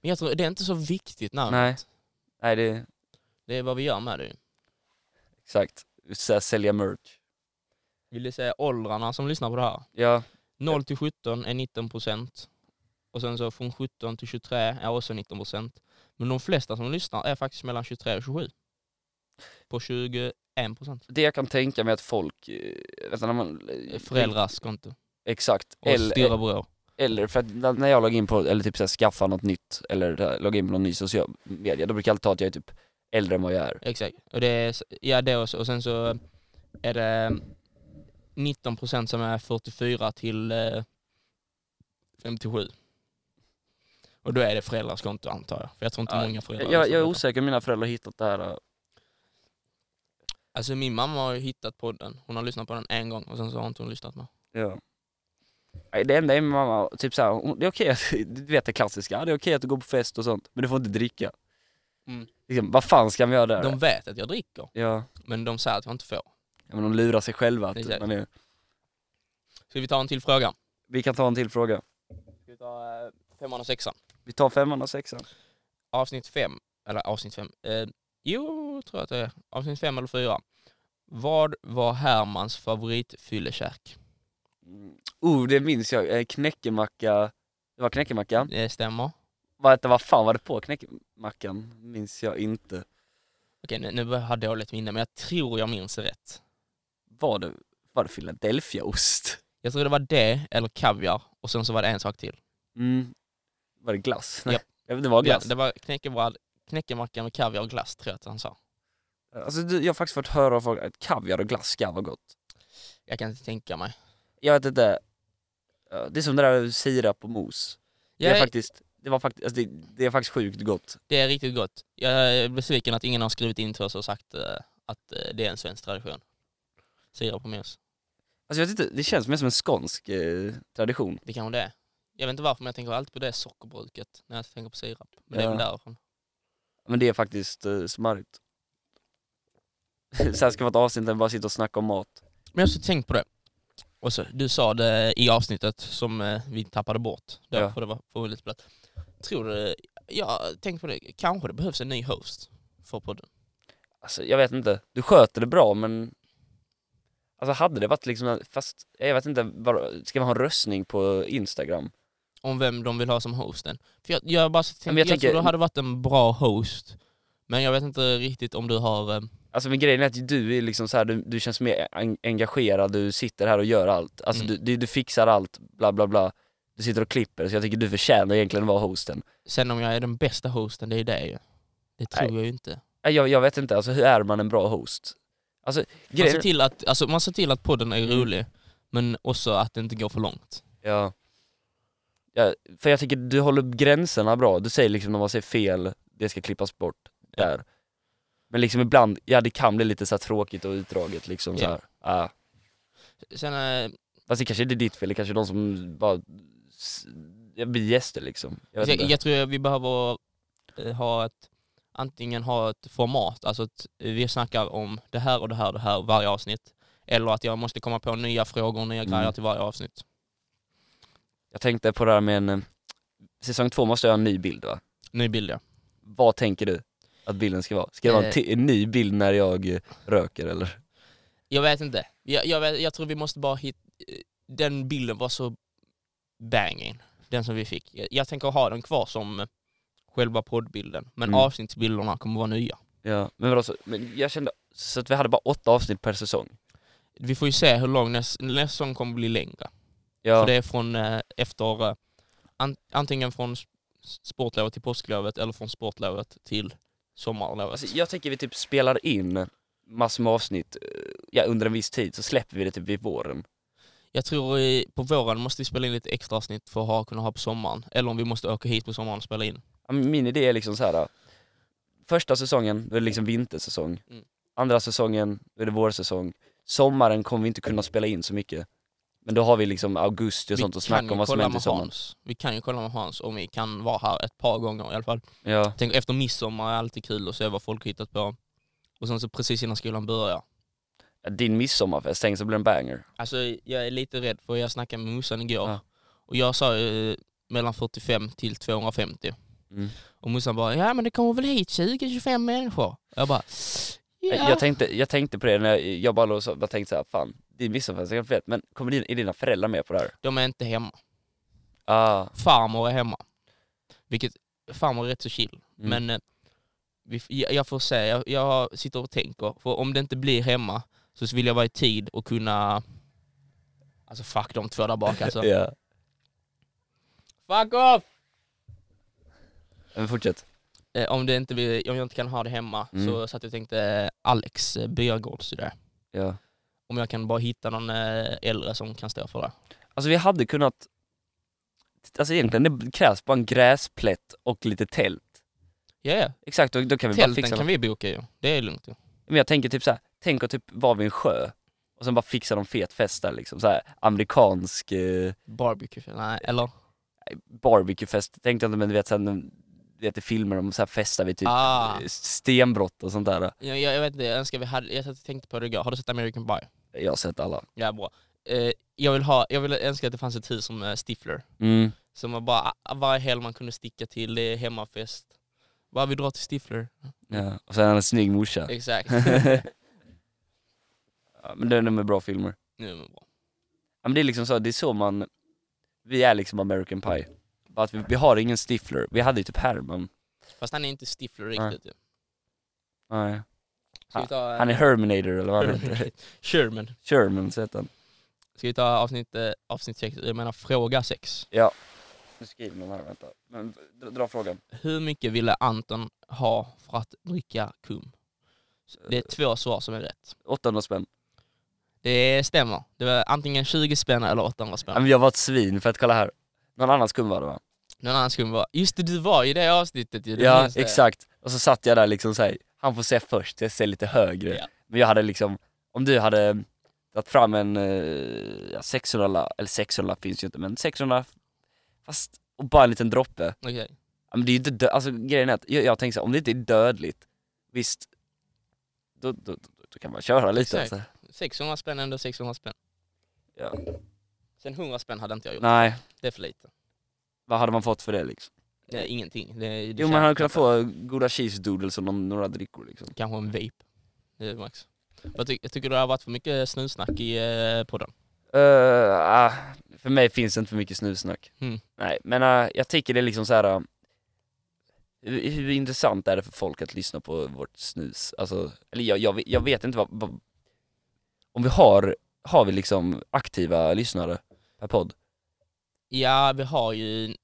[SPEAKER 2] Men jag tror, det är inte så viktigt namnet.
[SPEAKER 3] Nej. nej det är
[SPEAKER 2] Det är vad vi gör med det ju.
[SPEAKER 3] exakt, så här, sälja merch.
[SPEAKER 2] Vill du säga åldrarna som lyssnar på det här?
[SPEAKER 3] Ja,
[SPEAKER 2] 0 till 17 är 19 procent. Och sen så från 17 till 23 är också 19 procent. Men de flesta som lyssnar är faktiskt mellan 23 och 27. På 21 procent.
[SPEAKER 3] det jag kan tänka mig att folk, eh, vänta när man...
[SPEAKER 2] Föräldrars konto.
[SPEAKER 3] Exakt.
[SPEAKER 2] Och storebror.
[SPEAKER 3] Eller för att när när jag loggar in på, eller typ såhär skaffa något nytt, eller så här, logga in på någon ny social media, då brukar jag alltid ta att jag är typ äldre än vad jag är.
[SPEAKER 2] Exakt. Och det är, s- ja, det också. Och sen så är det 19 procent som är 44 till eh, 57. Och då är det föräldrars konto antar jag. För jag tror inte
[SPEAKER 3] Ja,
[SPEAKER 2] många föräldrar
[SPEAKER 3] Jag, jag
[SPEAKER 2] lyssnar
[SPEAKER 3] är
[SPEAKER 2] på detta.
[SPEAKER 3] osäker om mina föräldrar har hittat det här. äh,
[SPEAKER 2] Alltså min mamma har ju hittat podden. Hon har lyssnat på den en gång och sen så har inte hon lyssnat mer.
[SPEAKER 3] Nej, Det enda är min mamma, typ såhär, hon- det är okej, att- du vet det klassiska, "Ja, det är okej att du går på fest och sånt, men du får inte dricka.
[SPEAKER 2] Mm.
[SPEAKER 3] Liksom, vad fan ska man göra där?
[SPEAKER 2] De vet att jag dricker,
[SPEAKER 3] Ja.
[SPEAKER 2] men de säger att jag inte får.
[SPEAKER 3] ja, men de lurar sig själva att
[SPEAKER 2] Exakt.
[SPEAKER 3] man är...
[SPEAKER 2] Ska vi ta en till fråga?
[SPEAKER 3] Vi kan ta en till fråga.
[SPEAKER 2] Ska vi ta eh, femman och sexan?
[SPEAKER 3] Vi tar femman och sexan.
[SPEAKER 2] Avsnitt fem, eller avsnitt fem, eh, jo tror jag att det är. Avsnitt fem eller fyra. Vad var Hermans favoritfyllekäk?
[SPEAKER 3] Mm. Oh, det minns jag, Eh, knäckemacka, det var knäckemacka.
[SPEAKER 2] Det Eh, stämmer.
[SPEAKER 3] Vad, hette- vad fan var det på knäckemackan? Minns jag inte.
[SPEAKER 2] Okej, nu, nu börjar jag ha dåligt minne, men jag tror jag minns rätt.
[SPEAKER 3] Var det, var det Philadelphiaost?
[SPEAKER 2] Jag tror det var det, eller kaviar, och sen så var det en sak till.
[SPEAKER 3] Mm. Var det glass?
[SPEAKER 2] Japp.
[SPEAKER 3] Ja. men Det var
[SPEAKER 2] Ja,
[SPEAKER 3] glass.
[SPEAKER 2] det var knäckebröd, knäckemacka med kaviar och glass, tror jag att han sa.
[SPEAKER 3] Alltså du, jag har faktiskt fått höra av folk att kaviar och glass ska vara gott.
[SPEAKER 2] Jag kan inte tänka mig.
[SPEAKER 3] Jag vet inte. Ja, Det är som det där sirap och mos. Det är
[SPEAKER 2] Jag-
[SPEAKER 3] faktiskt, det var faktiskt, alltså det, det är faktiskt sjukt gott.
[SPEAKER 2] Det är riktigt gott. Jag är besviken att ingen har skrivit in till oss och sagt eh, att eh, det är en svensk tradition. Sirap på mos.
[SPEAKER 3] Alltså jag vet inte, det känns mer som en skånsk eh, tradition.
[SPEAKER 2] Det kanske det är. Jag vet inte varför men jag tänker alltid på det sockerbruket när jag tänker på sirap. Men det är
[SPEAKER 3] Ja.
[SPEAKER 2] väl därifrån.
[SPEAKER 3] Men det är faktiskt eh, smarrigt. Så här ska vara ett avsnitt där vi bara sitter och snackar om mat.
[SPEAKER 2] Men jag har också tänkt på det. Och så, du sa det i avsnittet som eh, vi tappade bort. Då,
[SPEAKER 3] Ja.
[SPEAKER 2] för det var för lite platt. Tror du, eh, jag tänkte på det, kanske det behövs en ny host för podden.
[SPEAKER 3] Alltså jag vet inte, du sköter det bra men... Alltså hade det varit liksom, fast jag vet inte, vad- ska man ha en röstning på Instagram?
[SPEAKER 2] Om vem de vill ha som hosten. För jag, jag, bara tänk,
[SPEAKER 3] Men
[SPEAKER 2] jag,
[SPEAKER 3] jag
[SPEAKER 2] tror
[SPEAKER 3] tänker-
[SPEAKER 2] du hade varit en bra host. Men jag vet inte riktigt om du har... eh,
[SPEAKER 3] Alltså men grejen är att du är liksom så här, du, du känns mer en- engagerad, du sitter här och gör allt. Alltså
[SPEAKER 2] Mm.
[SPEAKER 3] du, du, du fixar allt, bla bla bla. Du sitter och klipper, så jag tycker du förtjänar egentligen att vara hosten.
[SPEAKER 2] Sen om jag är den bästa hosten, det är det ju. Det tror
[SPEAKER 3] Nej.
[SPEAKER 2] jag ju inte.
[SPEAKER 3] Nej, Jag, jag vet inte, alltså hur är man en bra host? Alltså
[SPEAKER 2] Man ser,
[SPEAKER 3] grejen...
[SPEAKER 2] till att, alltså, man ser till att podden är
[SPEAKER 3] Mm.
[SPEAKER 2] rolig, men också att det inte går för långt.
[SPEAKER 3] Ja. ja. För jag tycker du håller gränserna bra, du säger liksom när man säger fel, det ska klippas bort.
[SPEAKER 2] Ja.
[SPEAKER 3] Där. Men liksom ibland, ja det kan bli lite så här tråkigt och utdraget liksom så
[SPEAKER 2] Ja.
[SPEAKER 3] här. Ah.
[SPEAKER 2] Sen, eh,
[SPEAKER 3] Fast det kanske inte är ditt fel, det kanske är de som bara s- ja, blir gäster liksom. Jag vet
[SPEAKER 2] jag,
[SPEAKER 3] inte.
[SPEAKER 2] jag tror vi behöver eh, ha ett, antingen ha ett format, alltså att vi snackar om det här och det här och det här varje avsnitt. Eller att jag måste komma på nya frågor och nya
[SPEAKER 3] Mm.
[SPEAKER 2] grejer till varje avsnitt.
[SPEAKER 3] Jag tänkte på det här med en... eh, Säsong två måste jag ha en ny bild va?
[SPEAKER 2] Ny bild ja.
[SPEAKER 3] Vad tänker du att bilden ska vara? Ska det vara en,
[SPEAKER 2] Eh.
[SPEAKER 3] ti- en ny bild när jag eh, röker eller?
[SPEAKER 2] Jag vet inte. Jag, jag, vet, jag tror vi måste bara hitta... Den bilden var så banging, den som vi fick. Jag, jag tänker ha den kvar som själva poddbilden, men
[SPEAKER 3] Mm.
[SPEAKER 2] avsnittsbilderna kommer vara nya.
[SPEAKER 3] Ja, men vadå så, men jag kände så att vi hade bara åtta avsnitt per säsong.
[SPEAKER 2] Vi får ju se hur lång nästa näst säsong kommer bli längre.
[SPEAKER 3] Ja,
[SPEAKER 2] För det är från eh, efter... Eh, an, antingen från s- sportlovet till påsklovet eller från sportlovet till sommarlovet.
[SPEAKER 3] alltså, jag tänker vi typ spelar in massor med avsnitt eh, ja, under en viss tid, så släpper vi det typ vid våren.
[SPEAKER 2] Jag tror eh, på våren måste vi spela in lite extra avsnitt för att ha, kunna ha på sommaren. Eller om vi måste åka hit på sommaren och spela in.
[SPEAKER 3] Ja, men Min idé är liksom så här. eh, första säsongen, då är det liksom vintersäsong.
[SPEAKER 2] Mm.
[SPEAKER 3] Andra säsongen, då är det vårsäsong. Sommaren kommer vi inte kunna spela in så mycket. Men då har vi liksom augusti och sånt att
[SPEAKER 2] kan
[SPEAKER 3] snacka
[SPEAKER 2] ju
[SPEAKER 3] om vad som
[SPEAKER 2] kolla
[SPEAKER 3] hänt i
[SPEAKER 2] med
[SPEAKER 3] sommaren.
[SPEAKER 2] Hans. Vi kan ju kolla med Hans om vi kan vara här ett par gånger i alla fall.
[SPEAKER 3] Ja.
[SPEAKER 2] Tänk efter midsommar är alltid kul att se vad folk hittat på. Och sen så precis innan skolan börjar.
[SPEAKER 3] Din midsommarfest, tänk så blir det en banger.
[SPEAKER 2] Alltså jag är lite rädd för jag snackade med Mussan igår.
[SPEAKER 3] Ja.
[SPEAKER 2] Och jag sa ju eh, mellan 45 till 250.
[SPEAKER 3] Mm.
[SPEAKER 2] Och Mussan bara, ja men det kommer väl hit 20-25 människor. Jag bara, ja.
[SPEAKER 3] Eh, Jag, tänkte, jag tänkte på det när jag, jag bara låg och så- bara tänkte såhär, fan, din midsommarfest är ganska fet, men kommer din, är dina föräldrar med på det här?
[SPEAKER 2] De är inte hemma.
[SPEAKER 3] Ah,
[SPEAKER 2] Farmor är hemma. Vilket, farmor är rätt så chill.
[SPEAKER 3] Mm.
[SPEAKER 2] Men eh, vi, f- jag, jag får se, jag, jag sitter och tänker. För om det inte blir hemma så vill jag vara i tid och kunna... Alltså fuck de två där bak alltså.
[SPEAKER 3] ja.
[SPEAKER 2] Fuck off!
[SPEAKER 3] Men fortsätt.
[SPEAKER 2] Eh, om, det inte blir, om jag inte kan ha det hemma
[SPEAKER 3] Mm.
[SPEAKER 2] så satt jag och tänkte eh, Alex eh, Byrgård sådär.
[SPEAKER 3] Ja.
[SPEAKER 2] Om jag kan bara hitta någon eh, äldre som kan stå för det.
[SPEAKER 3] Alltså vi hade kunnat, alltså egentligen det krävs bara en gräsplätt och lite tält.
[SPEAKER 2] Ja, ja.
[SPEAKER 3] Exakt, då, då kan vi bara
[SPEAKER 2] Tälten
[SPEAKER 3] fixa
[SPEAKER 2] kan
[SPEAKER 3] något.
[SPEAKER 2] vi boka ju. Det är lugnt ju.
[SPEAKER 3] Men jag tänker typ såhär, tänk att typ vara vid en sjö och sen bara fixa någon fet fest där liksom, såhär amerikansk eh,
[SPEAKER 2] Barbecue, nej, eller?
[SPEAKER 3] barbecuefest, tänkte jag inte men du vet sen, du vet i filmer om så här festar vid typ
[SPEAKER 2] Ah,
[SPEAKER 3] eh, stenbrott och sånt där.
[SPEAKER 2] jag, jag vet inte, jag önskar vi hade, jag satt och tänkte på det igår. Har du sett American Pie?
[SPEAKER 3] Jag har sett alla.
[SPEAKER 2] Ja, bra. Eh, jag, vill ha, jag vill önska att det fanns ett hus som eh, Stifler.
[SPEAKER 3] Mm.
[SPEAKER 2] Som man bara, ah, varje helg man kunde sticka till, det är hemmafest. Bara vi drar till Stifler.
[SPEAKER 3] Ja. Och sen en snygg morsa.
[SPEAKER 2] Exakt.
[SPEAKER 3] Ja, men det är med bra filmer.
[SPEAKER 2] nu är det bra.
[SPEAKER 3] Ja, men det är liksom så, det är så man, vi är liksom American Pie. Bara att vi, vi har ingen Stifler, vi hade ju typ Herman.
[SPEAKER 2] Fast han är inte Stifler
[SPEAKER 3] Nej.
[SPEAKER 2] riktigt ju.
[SPEAKER 3] Nej.
[SPEAKER 2] Ska vi ta, eh,
[SPEAKER 3] Han är Herminator eller vad han heter.
[SPEAKER 2] Sherman.
[SPEAKER 3] Sherman så heter han.
[SPEAKER 2] Ska vi ta avsnitt, eh, avsnitt sex, jag menar fråga sex.
[SPEAKER 3] Nu skriver någon här, vänta. Men dra, dra frågan.
[SPEAKER 2] Hur mycket ville Anton ha för att dricka kum? Det är två svar som är rätt.
[SPEAKER 3] 800 spänn.
[SPEAKER 2] Det stämmer. Det var antingen 20 spänn eller 800 spänn.
[SPEAKER 3] Ja. men Jag var ett svin, för att kolla här. Någon annan skum var det va?
[SPEAKER 2] Någon annan skum var, just det du var i det avsnittet ju, du
[SPEAKER 3] Ja,
[SPEAKER 2] minns det. eh,
[SPEAKER 3] exakt. Och så satt jag där liksom såhär, han får se först, jag ser lite högre.
[SPEAKER 2] Ja.
[SPEAKER 3] Men jag hade liksom, om du hade tagit fram en eh, ja, 600 la- eller 600 finns ju inte, men 600 fast, och bara en liten droppe.
[SPEAKER 2] Okej.
[SPEAKER 3] Ja, men det är ju inte dö- alltså grejen är att jag, jag tänker såhär, om det inte är dödligt, visst, då, då, då, då kan man köra lite.
[SPEAKER 2] Exakt.
[SPEAKER 3] Alltså.
[SPEAKER 2] 600 spänn ändå 600 spänn.
[SPEAKER 3] Ja.
[SPEAKER 2] Sen 100 spänn hade inte jag gjort,
[SPEAKER 3] Nej,
[SPEAKER 2] det är för lite.
[SPEAKER 3] vad hade man fått för det liksom?
[SPEAKER 2] Det är ingenting. Det, det
[SPEAKER 3] Jo
[SPEAKER 2] känns
[SPEAKER 3] man hade
[SPEAKER 2] knappt.
[SPEAKER 3] kunnat få goda cheese doodles och någon, några drickor liksom.
[SPEAKER 2] Kanske en vape. Det är max. Jag, ty- jag tycker det har varit för mycket snusnack i eh, podden.
[SPEAKER 3] Eh, ah, för mig finns det inte för mycket snusnack.
[SPEAKER 2] Mm.
[SPEAKER 3] Nej, men eh, jag tycker det är liksom så här. eh, hur, hur intressant är det för folk att lyssna på vårt snus? Alltså, eller jag, jag, vet- jag vet inte vad, vad... Om vi har, har vi liksom aktiva lyssnare per podd?
[SPEAKER 2] Ja, vi har ju...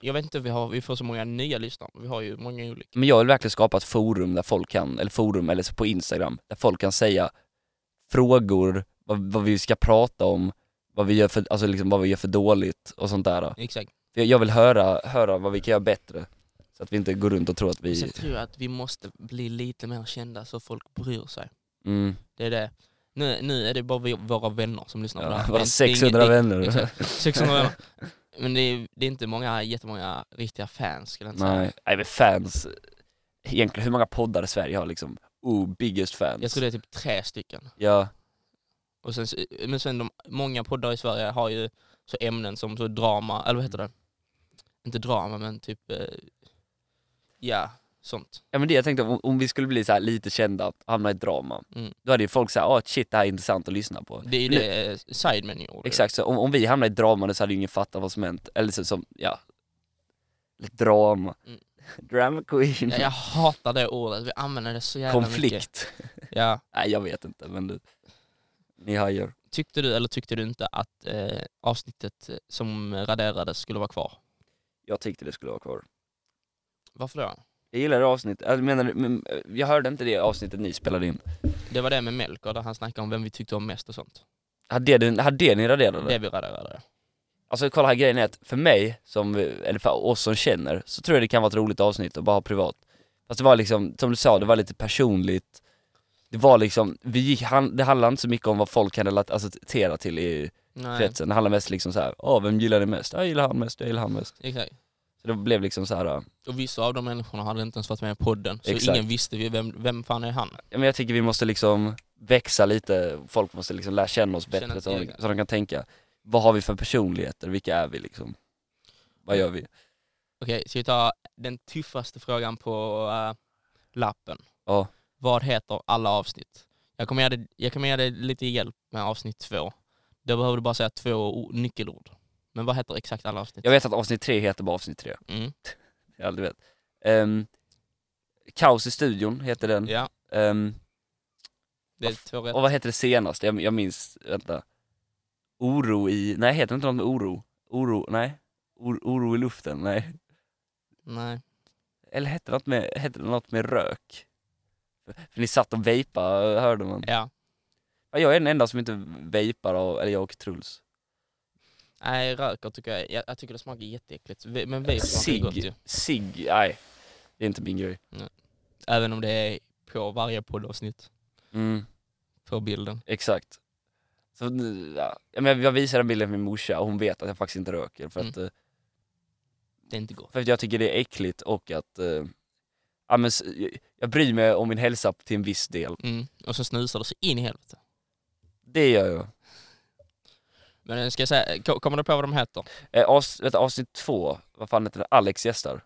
[SPEAKER 2] Jag vet inte om vi, har, vi får så många nya lyssnare, men vi har ju många olika.
[SPEAKER 3] Men jag vill verkligen skapa ett forum där folk kan, eller forum eller så på Instagram, där folk kan säga frågor, vad, vad vi ska prata om, vad vi gör för, alltså liksom vad vi gör för dåligt och sånt där.
[SPEAKER 2] Exakt.
[SPEAKER 3] För jag vill höra, höra vad vi kan göra bättre. Så att vi inte går runt och tror att
[SPEAKER 2] Så
[SPEAKER 3] vi...
[SPEAKER 2] jag tror att vi måste bli lite mer kända så folk bryr sig.
[SPEAKER 3] Mm,
[SPEAKER 2] Det är det. Nu, nu är det bara vi, våra vänner som lyssnar på det
[SPEAKER 3] ja,
[SPEAKER 2] här. Det är
[SPEAKER 3] bara
[SPEAKER 2] inte- det är
[SPEAKER 3] 600
[SPEAKER 2] inget- det-
[SPEAKER 3] vänner.
[SPEAKER 2] Exakt, 600 vänner. Men det är, det är inte många, jättemånga riktiga fans skulle jag inte säga.
[SPEAKER 3] Nej, nej men fans. Egentligen, hur många poddar i Sverige har liksom, oh, biggest fans?
[SPEAKER 2] Jag tror det är typ tre stycken.
[SPEAKER 3] Ja,
[SPEAKER 2] Och sen, så- men sen de, många poddar i Sverige har ju så ämnen som så drama, eller vad heter
[SPEAKER 3] Mm.
[SPEAKER 2] det? Inte drama men typ, eh, ja sånt.
[SPEAKER 3] ja men det jag tänkte, om, om vi skulle bli så här lite kända, hamna i ett drama.
[SPEAKER 2] Mm.
[SPEAKER 3] Då hade ju folk såhär, ah shit det här är intressant att lyssna på.
[SPEAKER 2] Det är ju
[SPEAKER 3] Men-
[SPEAKER 2] det eh, Sidemen gjorde.
[SPEAKER 3] Exakt, så om, om vi hamnar i ett drama så hade ju ingen fattat vad som hänt. Eller så som, ja. Eller drama.
[SPEAKER 2] Mm.
[SPEAKER 3] Drama queen.
[SPEAKER 2] Ja, jag hatar det ordet, vi använder det så jävla mycket.
[SPEAKER 3] Konflikt.
[SPEAKER 2] Ja.
[SPEAKER 3] Nej jag vet inte men du. Ni hajar.
[SPEAKER 2] Tyckte du eller tyckte du inte att eh, avsnittet eh, som raderades skulle vara kvar?
[SPEAKER 3] Jag tyckte det skulle vara kvar.
[SPEAKER 2] Varför då?
[SPEAKER 3] Jag gillar det avsnittet, jag menar, men, eh, jag hörde inte det avsnittet ni spelade in.
[SPEAKER 2] Det var det med Melker där han snackade om vem vi tyckte om mest och sånt.
[SPEAKER 3] Hade det, hade det ni raderade?
[SPEAKER 2] Det vi raderade.
[SPEAKER 3] Alltså kolla här grejen är att för mig, som, eh, eller för oss som känner, så tror jag det kan vara ett roligt avsnitt att bara ha privat. Fast det var liksom, som du sa, det var lite personligt. Det var liksom, vi gick, han, det handlade inte så mycket om vad folk kan relat- associera till i
[SPEAKER 2] Nej,
[SPEAKER 3] kretsen. Det handlade mest liksom så här, åh vem gillar det mest? Jag gillar han mest, jag gillar han mest.
[SPEAKER 2] exakt.
[SPEAKER 3] Så det blev liksom så här, eh,
[SPEAKER 2] Och vissa av de människorna hade inte ens varit med i podden, så
[SPEAKER 3] Exakt.
[SPEAKER 2] ingen visste ju vem, vem fan är han.
[SPEAKER 3] Ja, men jag tycker vi måste liksom växa lite, folk måste liksom lära känna oss
[SPEAKER 2] Känna
[SPEAKER 3] bättre så,
[SPEAKER 2] till
[SPEAKER 3] de,
[SPEAKER 2] det.
[SPEAKER 3] så de kan tänka, vad har vi för personligheter, vilka är vi liksom? Vad gör vi?
[SPEAKER 2] Okej, ska vi ta den tuffaste frågan på eh, lappen?
[SPEAKER 3] Ja.
[SPEAKER 2] Vad heter alla avsnitt? Jag kommer ge dig, jag kommer ge dig lite hjälp med avsnitt två. Då behöver du bara säga två o- nyckelord. Men vad heter exakt alla avsnitt?
[SPEAKER 3] Jag vet att avsnitt tre heter bara avsnitt tre,
[SPEAKER 2] Mm.
[SPEAKER 3] jag aldrig vet. Ehm, Kaos i studion heter den.
[SPEAKER 2] Ja,
[SPEAKER 3] Ehm,
[SPEAKER 2] det är två rätt.
[SPEAKER 3] och vad heter det senaste? Jag, jag minns, vänta. Oro i, nej heter det inte något med oro? Oro, nej. Or, oro i luften, nej.
[SPEAKER 2] Nej.
[SPEAKER 3] Eller hette det något med, hette det något med rök? För, för ni satt och vejpade, hörde man.
[SPEAKER 2] Ja.
[SPEAKER 3] Ja, jag är den enda som inte vejpar, av- eller jag och Truls.
[SPEAKER 2] Nej, röker tycker jag, jag, jag tycker det smakar jätteäckligt. Ve- Men vape smakar ju gott ju.
[SPEAKER 3] Sig, sig, nej. Det är inte min grej.
[SPEAKER 2] Även om det är på varje poddavsnitt,
[SPEAKER 3] Mm,
[SPEAKER 2] på bilden.
[SPEAKER 3] exakt. Så, nu, ja. Ja, men jag visar den bilden för min morsa och hon vet att jag faktiskt inte röker
[SPEAKER 2] Mm.
[SPEAKER 3] för att, eh,
[SPEAKER 2] Det är inte gott.
[SPEAKER 3] för att jag tycker det är äckligt och att eh, ja, men, s- jag bryr mig om min hälsa till en viss del.
[SPEAKER 2] Mm. Och så snusar det så in i helvete.
[SPEAKER 3] Det gör jag.
[SPEAKER 2] Men ska jag säga, ko- kommer du på vad de heter?
[SPEAKER 3] Eh, avs, vet, du, avsnitt två, vad fan heter det? Alex gästar.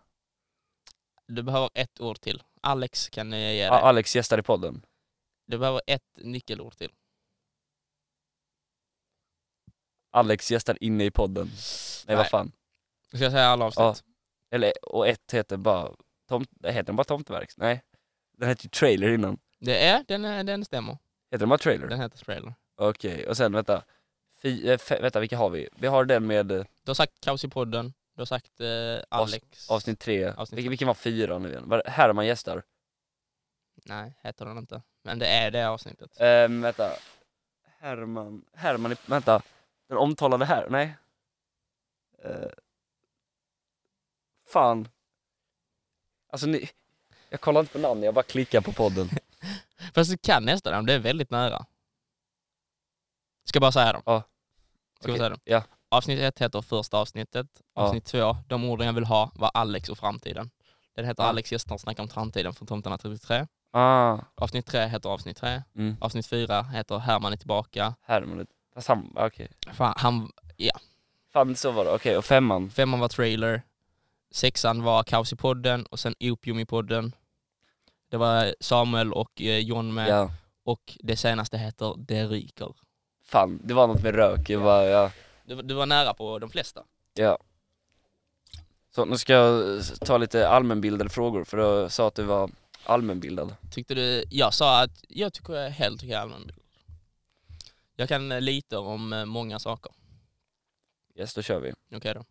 [SPEAKER 2] Du behöver ett ord till. Alex kan jag ge
[SPEAKER 3] Ja,
[SPEAKER 2] dig.
[SPEAKER 3] Ah, Alex gästar i podden.
[SPEAKER 2] Du behöver ett nyckelord till.
[SPEAKER 3] Alex gästar inne i podden. Nej, vad fan.
[SPEAKER 2] Ska jag säga alla avsnitt?
[SPEAKER 3] Ja. Eller, och ett heter bara, tom, heter den bara Tomteverks? Nej. Den hette ju Trailer innan.
[SPEAKER 2] Det är, den, är, den stämmer.
[SPEAKER 3] Heter den bara Trailer?
[SPEAKER 2] Den heter Trailer.
[SPEAKER 3] Okej, och sen vänta. Fy, eh, fe, vänta, vilka har vi? Vi har den med eh,
[SPEAKER 2] Du har sagt Kaos i podden, du har sagt eh, Alex.
[SPEAKER 3] avsnitt tre.
[SPEAKER 2] Avsnitt
[SPEAKER 3] Vilken,
[SPEAKER 2] tre.
[SPEAKER 3] vilken var fyra nu igen? Var det Herman gästar?
[SPEAKER 2] Nej, heter den inte. Men det är det avsnittet.
[SPEAKER 3] Ehm, vänta. Herman, Herman, i- vänta. Den omtalade här, nej. Eh, fan. Alltså ni, jag kollar inte på namn, jag bara klickar på podden.
[SPEAKER 2] Fast du kan nästa namn, det är väldigt nära. Ska bara säga dem.
[SPEAKER 3] Ja.
[SPEAKER 2] Ska
[SPEAKER 3] Okej,
[SPEAKER 2] bara säga dem.
[SPEAKER 3] ja.
[SPEAKER 2] Avsnitt ett heter första avsnittet. Avsnitt två, de orden jag vill ha var Alex och framtiden. Den heter
[SPEAKER 3] Ja.
[SPEAKER 2] Alex gästerna snackar om framtiden från Tomtarna 33.
[SPEAKER 3] Ah,
[SPEAKER 2] Avsnitt tre heter avsnitt tre.
[SPEAKER 3] Mm.
[SPEAKER 2] Avsnitt fyra heter Herman är tillbaka.
[SPEAKER 3] Herman, fast han, Ah, okej.
[SPEAKER 2] Fan, han,
[SPEAKER 3] Fan så var det, okej och femman.
[SPEAKER 2] femman var trailer. Sexan var Kaos i podden och sen Opium i podden. Det var Samuel och eh, John med.
[SPEAKER 3] Ja.
[SPEAKER 2] Och det senaste heter Det ryker.
[SPEAKER 3] Fan, det var något med rök, jag bara, ja.
[SPEAKER 2] Du, du var nära på de flesta.
[SPEAKER 3] Ja. Så nu ska jag eh, ta lite allmänbildade frågor för du sa att du var allmänbildad.
[SPEAKER 2] Tyckte du, jag sa att jag tycker jag är helt okej allmänbild. Jag kan eh, lite om eh, många saker.
[SPEAKER 3] Yes, då kör vi.
[SPEAKER 2] Okej då.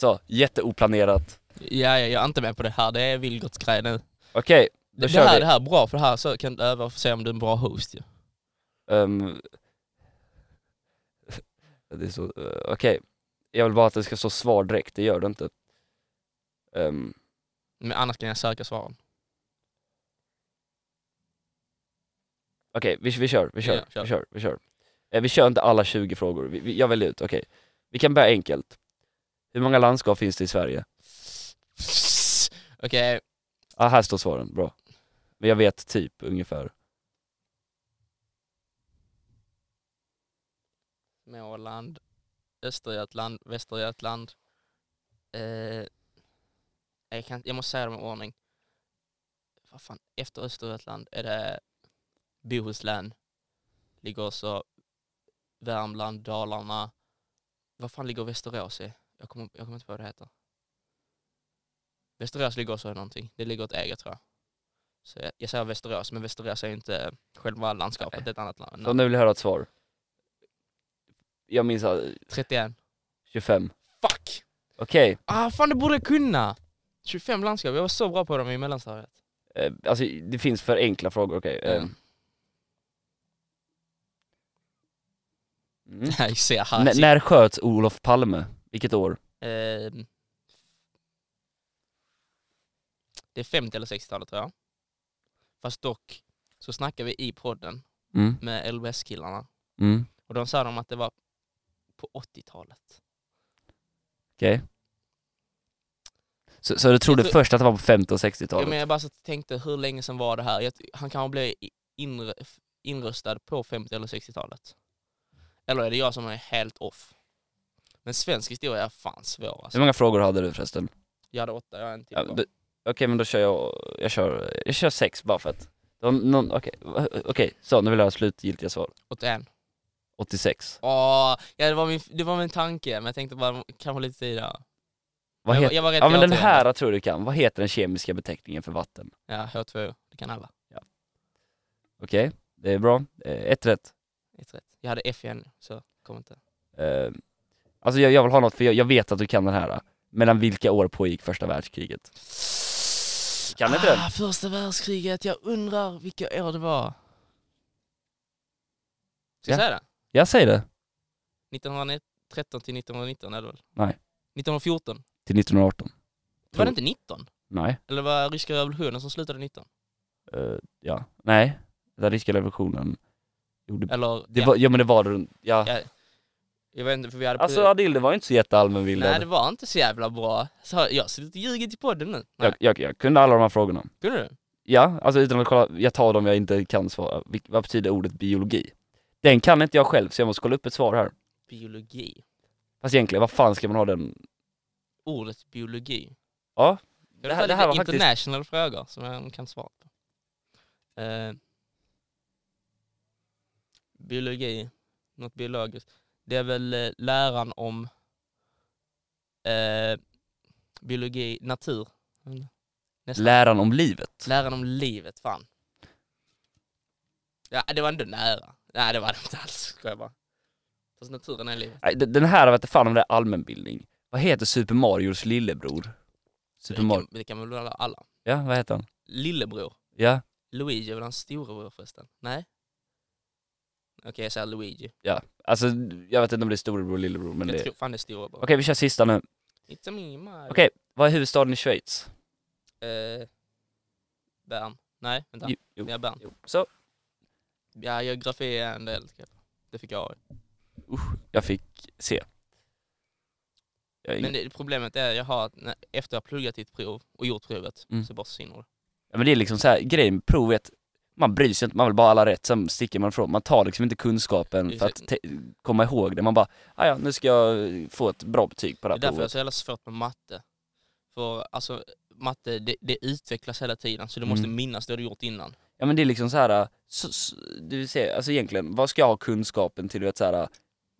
[SPEAKER 3] Så, jätteoplanerat.
[SPEAKER 2] Ja, ja, jag är inte med på det här. Det är Vilgots grej nu.
[SPEAKER 3] Okej, då
[SPEAKER 2] Det, det,
[SPEAKER 3] kör
[SPEAKER 2] här,
[SPEAKER 3] vi.
[SPEAKER 2] det här är bra för det här så kan du öva och se om du är en bra host ju.
[SPEAKER 3] Ehm, det är så, eh, okej. Jag vill bara att det ska stå svar direkt, det gör det inte. Ehm,
[SPEAKER 2] Men annars kan jag söka svaren.
[SPEAKER 3] okej, vi, vi kör, vi kör,
[SPEAKER 2] Ja, kör.
[SPEAKER 3] vi kör, vi kör. Eh, vi kör inte alla 20 frågor, vi, vi, jag väljer ut, okej. Vi kan börja enkelt. Hur många landskap finns det i Sverige?
[SPEAKER 2] Okej,
[SPEAKER 3] Ah, här står svaren, bra. Men jag vet typ ungefär.
[SPEAKER 2] Småland, Östergötland, Västergötland. Eh, jag, kan, jag måste säga dem i ordning. Vad fan, efter Östergötland är det Bohuslän. Ligger också Värmland, Dalarna. Vad fan ligger Västerås i? Jag kommer, jag kommer inte på vad det heter. Västerås ligger också i någonting. Det ligger åt eget tror jag. Så jag, jag säger Västerås, men Västerås är ju inte själva landskapet,
[SPEAKER 3] Nej.
[SPEAKER 2] det är ett annat land.
[SPEAKER 3] Så nu vill jag höra ett svar. Jag minns eh,
[SPEAKER 2] 31.
[SPEAKER 3] 25.
[SPEAKER 2] Fuck!
[SPEAKER 3] Okej,
[SPEAKER 2] Ah fan det borde jag kunna! 25 landskap, jag var så bra på dem i mellanstadiet. Eh,
[SPEAKER 3] eh, alltså det finns för enkla frågor, okej. ehm. Mm.
[SPEAKER 2] Nej, ser jag
[SPEAKER 3] N-
[SPEAKER 2] här.
[SPEAKER 3] när sköts Olof Palme? Vilket år?
[SPEAKER 2] Ehm. det är 50 eller 60-talet tror jag. Fast dock så snackade vi i podden
[SPEAKER 3] Mm.
[SPEAKER 2] med LBS-killarna
[SPEAKER 3] Mm.
[SPEAKER 2] och de sa de att det var på 80-talet.
[SPEAKER 3] Okej. Så, så du trodde
[SPEAKER 2] Jag tror-
[SPEAKER 3] först att det var på 50 och
[SPEAKER 2] Ja, men
[SPEAKER 3] 60-talet?
[SPEAKER 2] jag bara så tänkte hur länge sedan var det här? Jag, han kanske blev i- inre, inröstad på 50 eller 60-talet. Eller är det jag som är helt off? Men svensk historia är fan svår alltså.
[SPEAKER 3] Hur många frågor hade du förresten?
[SPEAKER 2] Jag hade åtta, jag har en till
[SPEAKER 3] Ja,
[SPEAKER 2] kvar.
[SPEAKER 3] du- Okej men då kör jag, jag kör, jag kör sex bara för att. Det var någon- Okej, va- okej så nu vill jag ha slutgiltiga svar.
[SPEAKER 2] 81.
[SPEAKER 3] 86.
[SPEAKER 2] Åh, ja, det, var min, det var min tanke, men jag tänkte bara kanske lite tid där.
[SPEAKER 3] Vad
[SPEAKER 2] jag, var-
[SPEAKER 3] heter,
[SPEAKER 2] jag var rätt
[SPEAKER 3] ja men
[SPEAKER 2] glad
[SPEAKER 3] den
[SPEAKER 2] till
[SPEAKER 3] här jag tror du kan. Vad heter den kemiska beteckningen för vatten?
[SPEAKER 2] Ja, H2O. Det kan alla.
[SPEAKER 3] Okej, det är bra. Eh, ett rätt.
[SPEAKER 2] Helt rätt. Jag hade F igen, så kom inte.
[SPEAKER 3] Eh, alltså jag, jag vill ha något för jag, jag vet att du kan den här. Mellan vilka år pågick första världskriget? Kan inte
[SPEAKER 2] ah, Första världskriget, jag undrar vilka år det var. Ska
[SPEAKER 3] Ja.
[SPEAKER 2] jag säga det?
[SPEAKER 3] Jag säger det.
[SPEAKER 2] 1913 till 1919 är det väl?
[SPEAKER 3] Nej.
[SPEAKER 2] 1914?
[SPEAKER 3] Till 1918.
[SPEAKER 2] Var
[SPEAKER 3] Tror-
[SPEAKER 2] det inte 19?
[SPEAKER 3] Nej.
[SPEAKER 2] Eller var det ryska revolutionen som slutade 19?
[SPEAKER 3] Eh, ja. Nej. Den ryska revolutionen gjorde...
[SPEAKER 2] Eller,
[SPEAKER 3] Det
[SPEAKER 2] ja,
[SPEAKER 3] var, ja men det var det runt... Ja.
[SPEAKER 2] ja. Jag vet inte, för vi hade...
[SPEAKER 3] Alltså Adil, det var inte så jätteallmänbildad.
[SPEAKER 2] Nej, det var inte så jävla bra. Så har- jag har suttit och ljugit i podden nu. Nej,
[SPEAKER 3] jag, jag, jag kunde alla de här frågorna.
[SPEAKER 2] kunde du?
[SPEAKER 3] Ja, alltså utan att kolla, jag tar dem jag inte kan svara. Vil- Vad betyder ordet biologi? Den kan inte jag själv, så jag måste kolla upp ett svar här.
[SPEAKER 2] Biologi.
[SPEAKER 3] Fast egentligen, vad fan ska man ha den?
[SPEAKER 2] Ordet biologi.
[SPEAKER 3] Ja.
[SPEAKER 2] Jag
[SPEAKER 3] Det
[SPEAKER 2] vill
[SPEAKER 3] här-
[SPEAKER 2] ta
[SPEAKER 3] det
[SPEAKER 2] lite
[SPEAKER 3] här var faktiskt-
[SPEAKER 2] international frågor som jag kan svara på. Eh, biologi, något biologiskt. Det är väl eh, läran om eh, biologi, natur. Nästan.
[SPEAKER 3] Läran om livet.
[SPEAKER 2] Läran om livet, fan. Ja, det var ändå nära. Nej, det var det inte alls, skojar bara. Fast naturen är livet.
[SPEAKER 3] Nej, d- den här vet fan om det är allmänbildning. Vad heter Super Marios lillebror?
[SPEAKER 2] Det
[SPEAKER 3] Super Mario...
[SPEAKER 2] kan, det kan väl alla.
[SPEAKER 3] Ja, vad heter han?
[SPEAKER 2] Lillebror.
[SPEAKER 3] Ja,
[SPEAKER 2] Luigi är väl hans storebror förresten? Nej? Okej, jag säger Luigi.
[SPEAKER 3] ja. Alltså jag vet inte om det är storebror eller lillebror men
[SPEAKER 2] jag
[SPEAKER 3] det...
[SPEAKER 2] tror fan det är storebror.
[SPEAKER 3] Okej vi kör sista nu.
[SPEAKER 2] It's a me, Mario.
[SPEAKER 3] Okej, vad är huvudstaden i Schweiz?
[SPEAKER 2] Eh, Bern. Nej, vänta.
[SPEAKER 3] Jo, jo,
[SPEAKER 2] Ja, Bern.
[SPEAKER 3] jo. Så,
[SPEAKER 2] Ja, geografi är en del. typ. Det fick jag.
[SPEAKER 3] jag fick se. Jag har ingen-
[SPEAKER 2] Men det, problemet är, jag har, att när, efter jag har pluggat ditt prov och gjort provet,
[SPEAKER 3] Mm.
[SPEAKER 2] så bara försvinner det.
[SPEAKER 3] Ja, men det är liksom så här, grejen med provet, man bryr sig inte, man vill bara ha alla rätt, sen sticker man ifrån. Man tar liksom inte kunskapen för att te- komma ihåg det. Man bara, "Ah, ja nu ska jag få ett bra betyg på det
[SPEAKER 2] Det
[SPEAKER 3] här
[SPEAKER 2] är därför jag har
[SPEAKER 3] provet.
[SPEAKER 2] så jävla svårt med matte. För alltså, matte, det, det utvecklas hela tiden, så du måste
[SPEAKER 3] Mm.
[SPEAKER 2] minnas det du gjort innan.
[SPEAKER 3] Ja men det är liksom så här, så, så, det vill säga, alltså egentligen, vad ska jag ha kunskapen till? Du vet så här,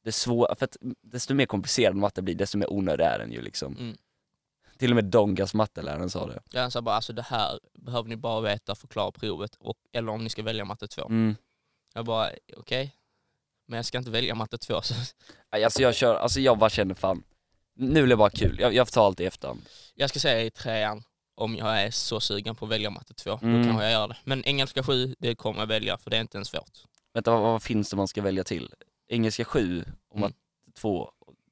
[SPEAKER 3] det svåra, för att desto mer komplicerad matte blir, desto mer onödig är den ju liksom.
[SPEAKER 2] Mm.
[SPEAKER 3] Till och med Dongas matteläraren sa det.
[SPEAKER 2] Jag sa bara, alltså det här behöver ni bara veta, förklara provet, och, eller om ni ska välja matte 2.
[SPEAKER 3] Mm.
[SPEAKER 2] Jag bara, okej. Men jag ska inte välja matte 2. Så
[SPEAKER 3] Nej, Alltså jag kör, alltså jag bara känner fan, nu blir det bara kul. Jag, jag får ta allt i efterhand.
[SPEAKER 2] jag ska säga i trean, om jag är så sugen på att välja matte 2,
[SPEAKER 3] Mm.
[SPEAKER 2] då kanske jag gör det. Men engelska 7, det kommer jag välja, för det är inte ens svårt.
[SPEAKER 3] Vänta, vad, vad finns det man ska välja till? Engelska 7 och
[SPEAKER 2] Mm.
[SPEAKER 3] matte 2,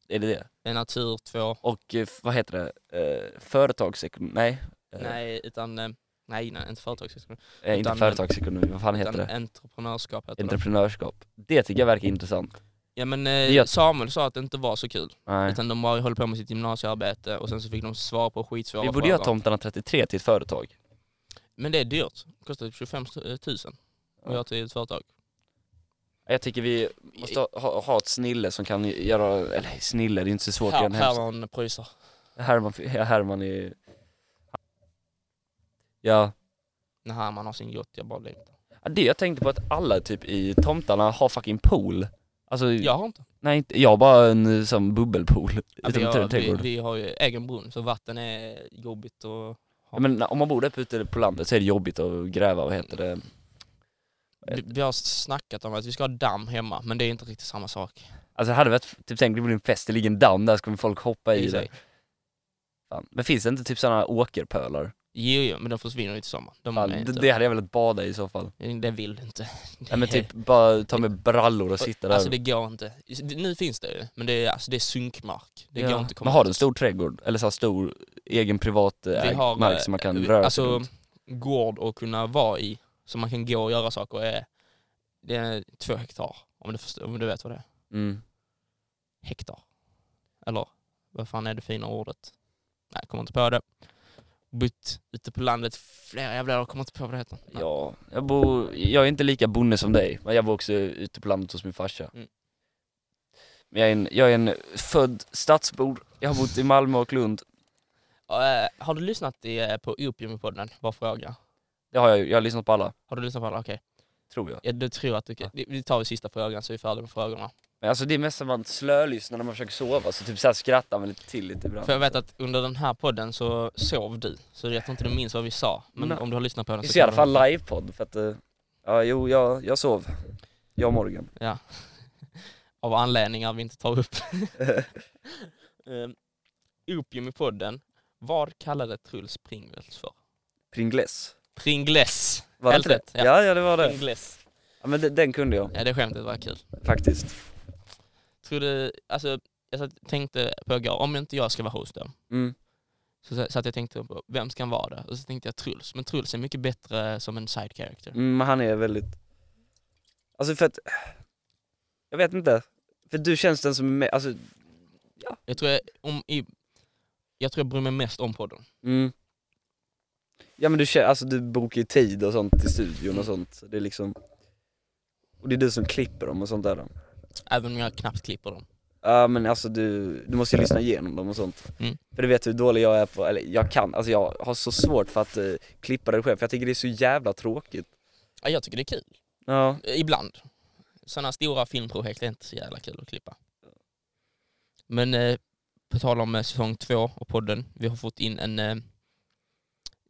[SPEAKER 3] är det det?
[SPEAKER 2] Det är natur 2.
[SPEAKER 3] Och eh, vad heter det? Eh, företagsekonomi? Nej, Eh.
[SPEAKER 2] Nej, utan... eh, Nej, nej, inte företagsekonomi.
[SPEAKER 3] eh, inte
[SPEAKER 2] Utan-
[SPEAKER 3] företagsekonomi, vad fan heter
[SPEAKER 2] Utan
[SPEAKER 3] det?
[SPEAKER 2] entreprenörskap heter det.
[SPEAKER 3] Entreprenörskap. Det tycker jag verkar intressant.
[SPEAKER 2] Ja men
[SPEAKER 3] gör-
[SPEAKER 2] eh, Samuel sa att det inte var så kul.
[SPEAKER 3] Nej.
[SPEAKER 2] Utan de bara höll på med sitt gymnasiearbete och sen så fick de svara på skitsvåra
[SPEAKER 3] Vi borde göra
[SPEAKER 2] frågor.
[SPEAKER 3] Tomtarna 33 till ett företag.
[SPEAKER 2] Men det är dyrt. Det kostar typ 25 000 att göra till ett företag.
[SPEAKER 3] Jag tycker vi måste ha- ha, ha ett snille som kan göra, eller snille, det är inte så svårt att
[SPEAKER 2] Här,
[SPEAKER 3] göra en hemsida.
[SPEAKER 2] Herman pröjsar.
[SPEAKER 3] Herman, ja, Herman är Ja,
[SPEAKER 2] När Herman har sin yacht, jag bara längtar.
[SPEAKER 3] Ja, det jag tänkte på att alla typ i Tomtarna har fucking pool. Alltså,
[SPEAKER 2] Jag har inte.
[SPEAKER 3] Nej, inte, jag har bara en eh, som bubbelpool
[SPEAKER 2] Ja,
[SPEAKER 3] utanför
[SPEAKER 2] vi, har, vi,
[SPEAKER 3] trädgården.
[SPEAKER 2] vi har ju egen brunn så vatten är jobbigt och...
[SPEAKER 3] Ja, men om man bor uppe ute på landet så är det jobbigt att gräva, vad heter det?
[SPEAKER 2] Vi, vi har snackat om att vi ska ha damm hemma men det är inte riktigt samma sak.
[SPEAKER 3] Alltså hade varit, typ tänk det blir en fest, det ligger en damm där så kommer folk hoppa i det.
[SPEAKER 2] Exakt.
[SPEAKER 3] Fan. Men finns det inte typ sådana åkerpölar?
[SPEAKER 2] Jo, jo, men de försvinner ju till sommaren. De
[SPEAKER 3] Fan,
[SPEAKER 2] är
[SPEAKER 3] det,
[SPEAKER 2] Mm, inte-
[SPEAKER 3] det hade jag velat bada i så fall.
[SPEAKER 2] Det vill du inte.
[SPEAKER 3] Nej men typ bara ta med brallor och sitta där.
[SPEAKER 2] Alltså det går inte. Nu finns det ju, men det är, alltså, det är sunkmark. Det
[SPEAKER 3] Ja.
[SPEAKER 2] går inte att komma
[SPEAKER 3] Men har du en
[SPEAKER 2] åt.
[SPEAKER 3] stor trädgård? Eller så här stor egen privat eh,
[SPEAKER 2] Vi
[SPEAKER 3] ägd
[SPEAKER 2] har,
[SPEAKER 3] mark som man kan
[SPEAKER 2] eh,
[SPEAKER 3] röra sig
[SPEAKER 2] Alltså
[SPEAKER 3] runt?
[SPEAKER 2] gård att kunna vara i, så man kan gå och göra saker, är, det är två hektar. Om du, förstår, om du vet vad det är.
[SPEAKER 3] Mm.
[SPEAKER 2] Hektar. Eller vad fan är det fina ordet? Nej, jag kommer inte på det. Bott ute på landet flera jävla år, jag kommer inte på vad det heter. Nej.
[SPEAKER 3] Ja, jag bor, jag är inte lika bonde som dig, men jag bor också ute på landet hos min farsa.
[SPEAKER 2] Mm.
[SPEAKER 3] Men jag är, en, jag är en född stadsbor, jag har bott i Malmö och Lund.
[SPEAKER 2] Och, eh, har du lyssnat i, eh, på Opiumpodden? Bara fråga.
[SPEAKER 3] Det har jag ju, jag har lyssnat på alla,
[SPEAKER 2] Har du lyssnat på alla? Okej.
[SPEAKER 3] tror jag.
[SPEAKER 2] Ja, du tror att du kan. Vi vi tar ju sista frågan så är vi färdiga med frågorna.
[SPEAKER 3] Men alltså det är mest att man slölyssnar när man försöker sova, så typ såhär skrattar man lite till lite ibland.
[SPEAKER 2] För jag vet att under den här podden så sov du, så jag tror inte du minns vad vi sa. Men
[SPEAKER 3] Nej.
[SPEAKER 2] om du har lyssnat på den
[SPEAKER 3] Vi
[SPEAKER 2] så
[SPEAKER 3] ser i alla
[SPEAKER 2] kan
[SPEAKER 3] fall livepodd, för att, eh, ja jo, jag, jag sov. Jag och Morgan.
[SPEAKER 2] du... Ja. Av anledningar vi inte tar upp.
[SPEAKER 3] Ehm,
[SPEAKER 2] um, opium i podden. Vad kallade Truls Pringles för?
[SPEAKER 3] Pringles.
[SPEAKER 2] Pringles!
[SPEAKER 3] Var det
[SPEAKER 2] Helt
[SPEAKER 3] inte det?
[SPEAKER 2] rätt, ja.
[SPEAKER 3] Ja, ja det var det.
[SPEAKER 2] Pringles.
[SPEAKER 3] Ja, men de- den kunde jag,
[SPEAKER 2] Ja, det skämtet var kul.
[SPEAKER 3] faktiskt.
[SPEAKER 2] Tror du, alltså, jag satt- tänkte på igår, om inte jag ska vara host då,
[SPEAKER 3] Mm.
[SPEAKER 2] så sa- satt jag och tänkte på vem ska vara det? Och så tänkte jag Truls, men Truls är mycket bättre som en side character.
[SPEAKER 3] Mm, men han är väldigt... Alltså för att... Jag vet inte. För du känns den som... är me- Alltså...
[SPEAKER 2] Jag tror jag, om, i, jag, tror jag bryr mig mest om podden.
[SPEAKER 3] Mm. Ja men du känner, alltså du bokar ju tid och sånt till studion
[SPEAKER 2] Mm.
[SPEAKER 3] och sånt. Så Det är liksom... Och det är du som klipper dem och sånt där. då.
[SPEAKER 2] Även om jag knappt klipper dem.
[SPEAKER 3] Ja men alltså du, du måste ju lyssna igenom dem och sånt.
[SPEAKER 2] Mm.
[SPEAKER 3] För du vet hur dålig jag är på, eller jag kan, alltså jag har så svårt för att eh, klippa det själv. För jag tycker det är så jävla tråkigt.
[SPEAKER 2] Ja, jag tycker det är kul.
[SPEAKER 3] Ja.
[SPEAKER 2] Ibland. Sådana stora filmprojekt är inte så jävla kul att klippa. Men eh, på tal om eh, säsong två och podden. Vi har fått in en... Eh,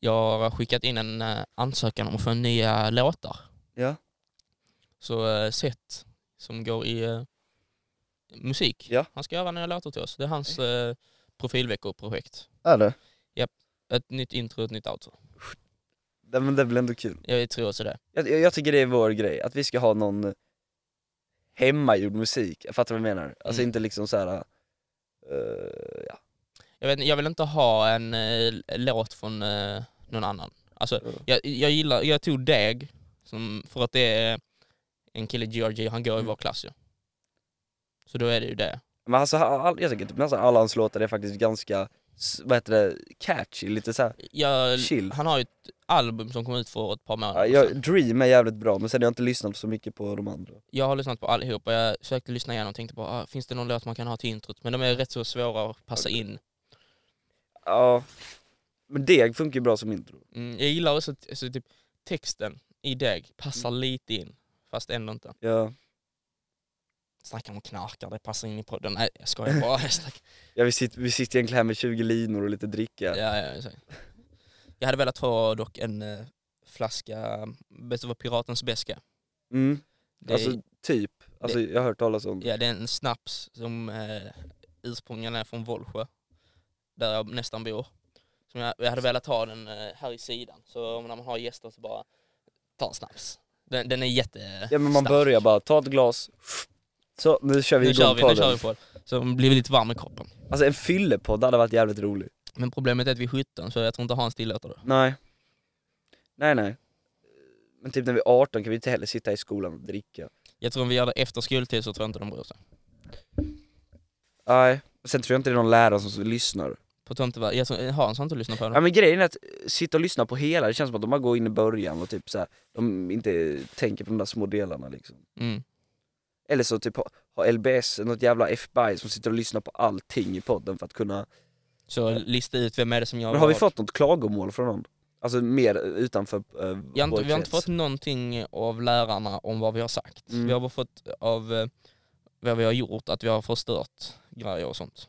[SPEAKER 2] jag har skickat in en eh, ansökan om att få nya låtar.
[SPEAKER 3] Ja.
[SPEAKER 2] Så eh, Seth som går i eh, musik,
[SPEAKER 3] Ja.
[SPEAKER 2] han ska göra nya låtar till oss. Det är hans eh, profilveckoprojekt.
[SPEAKER 3] Är det?
[SPEAKER 2] Ett nytt intro, ett nytt outro.
[SPEAKER 3] Nej, men det är väl ändå kul.
[SPEAKER 2] Jag tror också det.
[SPEAKER 3] Jag, jag, jag tycker det är vår grej, att vi ska ha någon eh, hemmagjord musik. Jag fattar vad du menar. Alltså
[SPEAKER 2] Mm.
[SPEAKER 3] inte liksom så här. eh, ja.
[SPEAKER 2] Jag, vet, inte- jag vill inte ha en eh, låt från eh, någon annan. Alltså,
[SPEAKER 3] Mm.
[SPEAKER 2] jag, jag gillar, jag tog Deg, som, för att det är en kille, Georgie, han
[SPEAKER 3] Mm.
[SPEAKER 2] går i vår klass ju. Så då är det ju det.
[SPEAKER 3] Men alltså, all, jag tycker typ nästan alla hans låtar är faktiskt ganska, s- vad heter det, catchy, lite så här.
[SPEAKER 2] Jag,
[SPEAKER 3] Chill.
[SPEAKER 2] han har ju ett album som kom ut för ett par månader
[SPEAKER 3] Ja,
[SPEAKER 2] jag,
[SPEAKER 3] jag, Dream är jävligt bra, men sen har jag inte lyssnat så mycket på de andra.
[SPEAKER 2] jag har lyssnat på allihopa, jag försökte lyssna igenom och tänkte bara, ah, finns det någon låt man kan ha till introt? Men de är rätt så svåra att passa in.
[SPEAKER 3] Ja, men Deg funkar ju bra som intro.
[SPEAKER 2] Mm, jag gillar också t- alltså, typ, texten i Deg, passar
[SPEAKER 3] Mm.
[SPEAKER 2] lite in, fast ändå inte.
[SPEAKER 3] Ja,
[SPEAKER 2] Snackar om knarkar, det passar in i podden. Nej jag skojar bara. Jag snackar-
[SPEAKER 3] ja vi, sitter, vi sitter egentligen här med 20 linor och lite dricka.
[SPEAKER 2] ja, ja, exakt. jag hade velat ha dock en eh, flaska, vet du vad piratens beska?
[SPEAKER 3] Mm,
[SPEAKER 2] Det, är-
[SPEAKER 3] alltså typ. Alltså jag har hört talas om det.
[SPEAKER 2] ja, det är en snaps som eh, ursprungligen är från Vollsjö, där jag nästan bor. Som jag, jag hade velat ha den eh, här i sidan, så om- när man har gäster så bara ta en snaps. Den, den är jätte...
[SPEAKER 3] Ja men man
[SPEAKER 2] stark.
[SPEAKER 3] börjar bara, ta ett glas, så nu kör vi
[SPEAKER 2] Nu kör
[SPEAKER 3] igång
[SPEAKER 2] vi, nu kör
[SPEAKER 3] podden.
[SPEAKER 2] vi på det. Så den blir lite varm i kroppen.
[SPEAKER 3] Alltså en fyllepodd hade varit jävligt rolig.
[SPEAKER 2] Men problemet är att vi är 17 så jag tror inte Hans tillåter det.
[SPEAKER 3] Nej. Nej nej. Men typ när vi är 18 kan vi inte heller sitta i skolan och dricka.
[SPEAKER 2] Jag tror om vi gör det efter skoltid så tror jag inte de bryr sig.
[SPEAKER 3] Nej. Och Sen tror jag inte det är någon lärare som lyssnar.
[SPEAKER 2] På tomtevärd. Jag tror, Hans har inte lyssnat på
[SPEAKER 3] Ja
[SPEAKER 2] den.
[SPEAKER 3] men grejen är att eh, sitta och lyssna på hela, det känns som att de bara går in i början och typ så här, de inte tänker på de där små delarna liksom.
[SPEAKER 2] Mm.
[SPEAKER 3] Eller så typ ha- har LBS något jävla FBI som sitter och lyssnar på allting i podden för att kunna...
[SPEAKER 2] Så lista ut vem är det som jag
[SPEAKER 3] Men har vi
[SPEAKER 2] var.
[SPEAKER 3] fått något klagomål från någon? Alltså mer utanför uh,
[SPEAKER 2] Jag har inte, vi har inte fått någonting av lärarna om vad vi har sagt.
[SPEAKER 3] Mm.
[SPEAKER 2] Vi har bara fått av eh, vad vi har gjort, att vi har förstört grejer och sånt.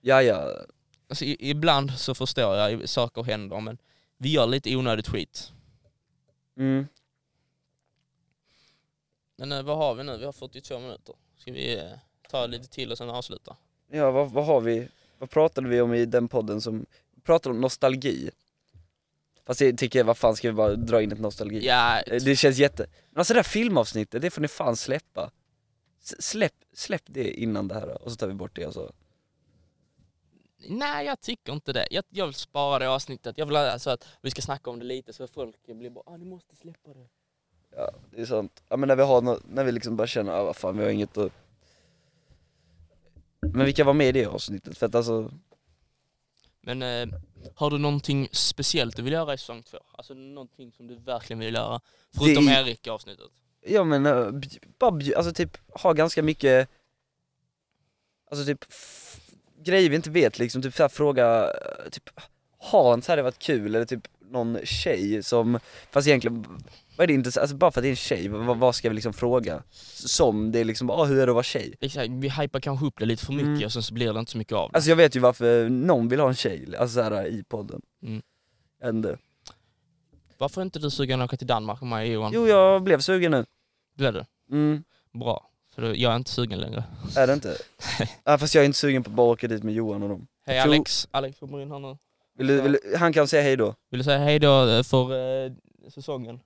[SPEAKER 3] Ja ja,
[SPEAKER 2] Alltså, i, ibland så förstår jag, i- saker händer men vi gör lite onödigt skit.
[SPEAKER 3] mm.
[SPEAKER 2] Men eh, vad har vi nu? Vi har 42 minuter. Ska vi eh, ta lite till och sen avsluta?
[SPEAKER 3] ja vad, vad har vi? Vad pratade vi om i den podden som... Vi pratade om nostalgi. Fast jag tycker, vad fan ska vi bara dra in ett nostalgi?
[SPEAKER 2] Ja,
[SPEAKER 3] Eh, Det känns jätte... Men alltså det där filmavsnittet, det får ni fan släppa. S- släpp, släpp det innan det här och så tar vi bort det och så.
[SPEAKER 2] nej jag tycker inte det. Jag, jag vill spara det avsnittet. Jag vill alltså att vi ska snacka om det lite så folk blir bara ah, ni måste släppa det.
[SPEAKER 3] Ja, det är sant. Ja men när vi har nå- när vi liksom bara känner, ah, vad fan vi har inget att... Men vi kan vara med i det avsnittet för att alltså,
[SPEAKER 2] Men eh, har du någonting speciellt du vill göra i säsong två? Alltså någonting som du verkligen vill göra? Förutom
[SPEAKER 3] Det är-
[SPEAKER 2] Erik i avsnittet.
[SPEAKER 3] ja men eh, bj- bara bj- alltså typ ha ganska mycket, alltså typ f- grejer vi inte vet liksom, typ så här, fråga, eh, typ Hans hade varit kul eller typ någon tjej som, fast egentligen, vad är det intressant, alltså bara för att det är en tjej, vad, vad ska vi liksom fråga? Som det är liksom, ah, hur är det att vara tjej?
[SPEAKER 2] Exakt, vi hypar kanske upp det lite för mycket
[SPEAKER 3] Mm.
[SPEAKER 2] och sen så blir det inte så mycket av det.
[SPEAKER 3] Alltså jag vet ju varför någon vill ha en tjej, alltså så här, i podden.
[SPEAKER 2] Mm.
[SPEAKER 3] Ändå.
[SPEAKER 2] Varför är inte du sugen att åka till Danmark med mig och Johan?
[SPEAKER 3] Jo, jag blev sugen nu.
[SPEAKER 2] Blev du?
[SPEAKER 3] Mm,
[SPEAKER 2] Bra. För då- jag är inte sugen längre.
[SPEAKER 3] är det inte? ja, fast jag är inte sugen på att bara åka dit med Johan och dem.
[SPEAKER 2] Hej
[SPEAKER 3] Jag tror-
[SPEAKER 2] Alex, Alex kommer in här nu.
[SPEAKER 3] Vill du, vill, du- han kan säga hej då.
[SPEAKER 2] Vill du säga hej då eh, för eh, säsongen?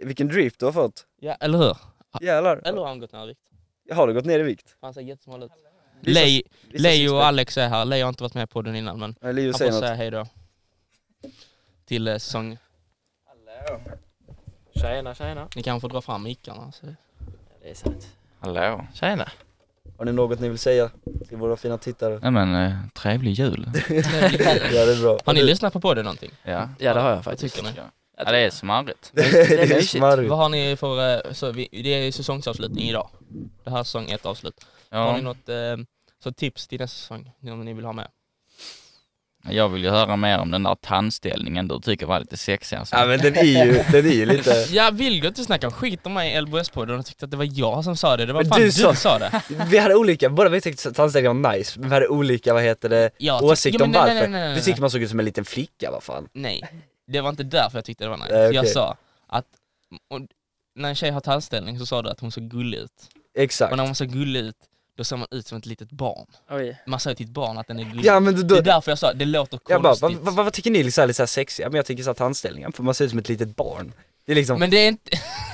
[SPEAKER 3] Vilken drift du har fått.
[SPEAKER 2] Ja, eller hur? Eller
[SPEAKER 3] Jävlar.
[SPEAKER 2] har han gått ner i vikt?
[SPEAKER 3] Har du gått ner i vikt?
[SPEAKER 2] Han ser jättesmal ut.
[SPEAKER 3] Visa-
[SPEAKER 2] Lej,
[SPEAKER 3] visa
[SPEAKER 2] Lej
[SPEAKER 3] sixpack.
[SPEAKER 2] och Alex är här. Lej har inte varit med på den innan men
[SPEAKER 3] Nej, Leo
[SPEAKER 2] han
[SPEAKER 3] säger
[SPEAKER 2] får
[SPEAKER 3] något.
[SPEAKER 2] säga hej då. Till eh, säsong
[SPEAKER 4] Hallå. Tjena, tjena.
[SPEAKER 2] Ni kanske får dra fram mickarna. Så.
[SPEAKER 4] Det är sant.
[SPEAKER 5] Hallå.
[SPEAKER 4] Tjena.
[SPEAKER 3] Har ni något ni vill säga till våra fina tittare?
[SPEAKER 5] Nej men, eh, trevlig jul.
[SPEAKER 3] Ja, det är bra.
[SPEAKER 2] Har ni lyssnat på podden någonting?
[SPEAKER 5] Ja.
[SPEAKER 4] Ja, det har jag
[SPEAKER 2] Vad
[SPEAKER 4] faktiskt.
[SPEAKER 2] tycker ni?
[SPEAKER 5] ja, det är smarrigt.
[SPEAKER 3] Det
[SPEAKER 4] Det är
[SPEAKER 3] är
[SPEAKER 4] mysigt.
[SPEAKER 3] smarrigt.
[SPEAKER 2] Vad har ni för, eh, så vi, det är säsongsavslutning idag. Det här är säsong ett avslut. Har ni
[SPEAKER 5] Ja,
[SPEAKER 2] något eh, så tips till nästa säsong om ni vill ha med?
[SPEAKER 5] jag vill ju höra mer om den där tandställningen du tycker var lite sexig alltså.
[SPEAKER 3] Ja men den är ju, den är ju lite...
[SPEAKER 2] Jag vill gå inte snacka skit om mig i LBS-podden och tyckte att det var jag som sa det. Det var
[SPEAKER 3] Men
[SPEAKER 2] fan
[SPEAKER 3] du
[SPEAKER 2] du,
[SPEAKER 3] sa-
[SPEAKER 2] som sa det.
[SPEAKER 3] Vi hade olika, båda vi tyckte tandställningen var nice, men vi hade olika, vad heter det,
[SPEAKER 2] Jag tyck-
[SPEAKER 3] åsikter
[SPEAKER 2] Ja,
[SPEAKER 3] om
[SPEAKER 2] men nej,
[SPEAKER 3] varför.
[SPEAKER 2] nej, nej, nej, nej.
[SPEAKER 3] Du tyckte man såg ut som en liten flicka, vad fan.
[SPEAKER 2] Nej, det var inte därför jag tyckte det var nice.
[SPEAKER 3] Nej,
[SPEAKER 2] Jag
[SPEAKER 3] okej.
[SPEAKER 2] sa att och, när en tjej har tandställning så sa du att hon såg gullig ut.
[SPEAKER 3] Exakt.
[SPEAKER 2] Och när hon såg gullig ut, då ser man ut som ett litet barn.
[SPEAKER 4] Oj.
[SPEAKER 2] Man säger till ett barn att den är gullig.
[SPEAKER 3] Ja men då,
[SPEAKER 2] Det är
[SPEAKER 3] då,
[SPEAKER 2] därför jag sa, det låter
[SPEAKER 3] jag bara, vad,
[SPEAKER 2] konstigt.
[SPEAKER 3] vad, vad tycker ni är så här, lite såhär sexiga? Men jag tycker såhär tandställningar, för man ser ut som ett litet barn. Det är liksom,
[SPEAKER 2] Men det är inte,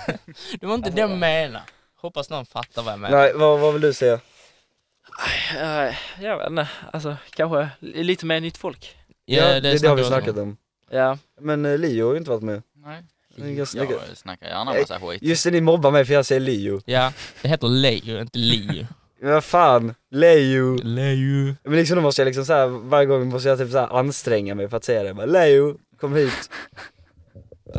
[SPEAKER 2] det var inte det jag menade. Hoppas någon fattar vad jag menar.
[SPEAKER 3] nej vad, vad vill du säga?
[SPEAKER 4] Eh, Jag vet inte, alltså kanske lite mer nytt folk.
[SPEAKER 2] Ja,
[SPEAKER 3] det, det, har vi
[SPEAKER 2] snackar jag
[SPEAKER 3] snackat om.
[SPEAKER 4] Ja,
[SPEAKER 3] Men eh, Leo har ju inte varit med.
[SPEAKER 5] Nej.
[SPEAKER 3] Det är ganska-
[SPEAKER 5] Jag snackar gärna massa skit.
[SPEAKER 3] Just det, ni mobbar mig för jag säger Leo.
[SPEAKER 2] Ja, det heter Leo, inte Leo.
[SPEAKER 3] Men vad fan, Leo.
[SPEAKER 2] Leo.
[SPEAKER 3] Men liksom då måste jag liksom såhär, varje gång måste jag typ såhär anstränga mig för att säga det. Bara, Leo, kom hit.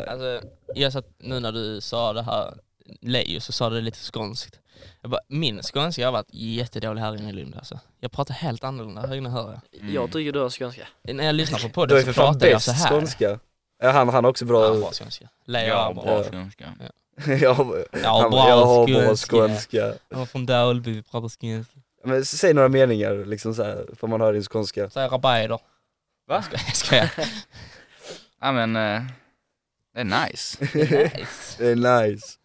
[SPEAKER 2] Alltså, jag satt, nu när du sa det här, Leo, så sa du det lite skånskt. Jag bara, min skånska har varit jättedålig här inne i Lund alltså. Jag pratar helt annorlunda här inne hör jag.
[SPEAKER 4] Mm. jag tycker du har skånska.
[SPEAKER 2] När jag lyssnar på
[SPEAKER 3] Du är
[SPEAKER 2] podden
[SPEAKER 3] för
[SPEAKER 2] så
[SPEAKER 3] fan
[SPEAKER 2] pratar jag så
[SPEAKER 3] bäst
[SPEAKER 2] här.
[SPEAKER 3] skånska. Ja, han, han har också bra...
[SPEAKER 2] Jag har bra skånska. Leo
[SPEAKER 5] Jag har
[SPEAKER 2] har bra.
[SPEAKER 5] bra
[SPEAKER 3] Ja.
[SPEAKER 5] skånska.
[SPEAKER 3] jag, har-
[SPEAKER 2] Jag har
[SPEAKER 3] han, jag har bra
[SPEAKER 2] bra skånska.
[SPEAKER 3] skånska.
[SPEAKER 2] Jag var från Dalby, vi pratar skånska.
[SPEAKER 3] Men s- säg några meningar liksom såhär, får man höra din skånska.
[SPEAKER 2] Säger rabaider.
[SPEAKER 5] Va?
[SPEAKER 2] Ska jag skojar.
[SPEAKER 5] Ja men, eh, det är nice.
[SPEAKER 2] Nice.
[SPEAKER 3] Det är nice.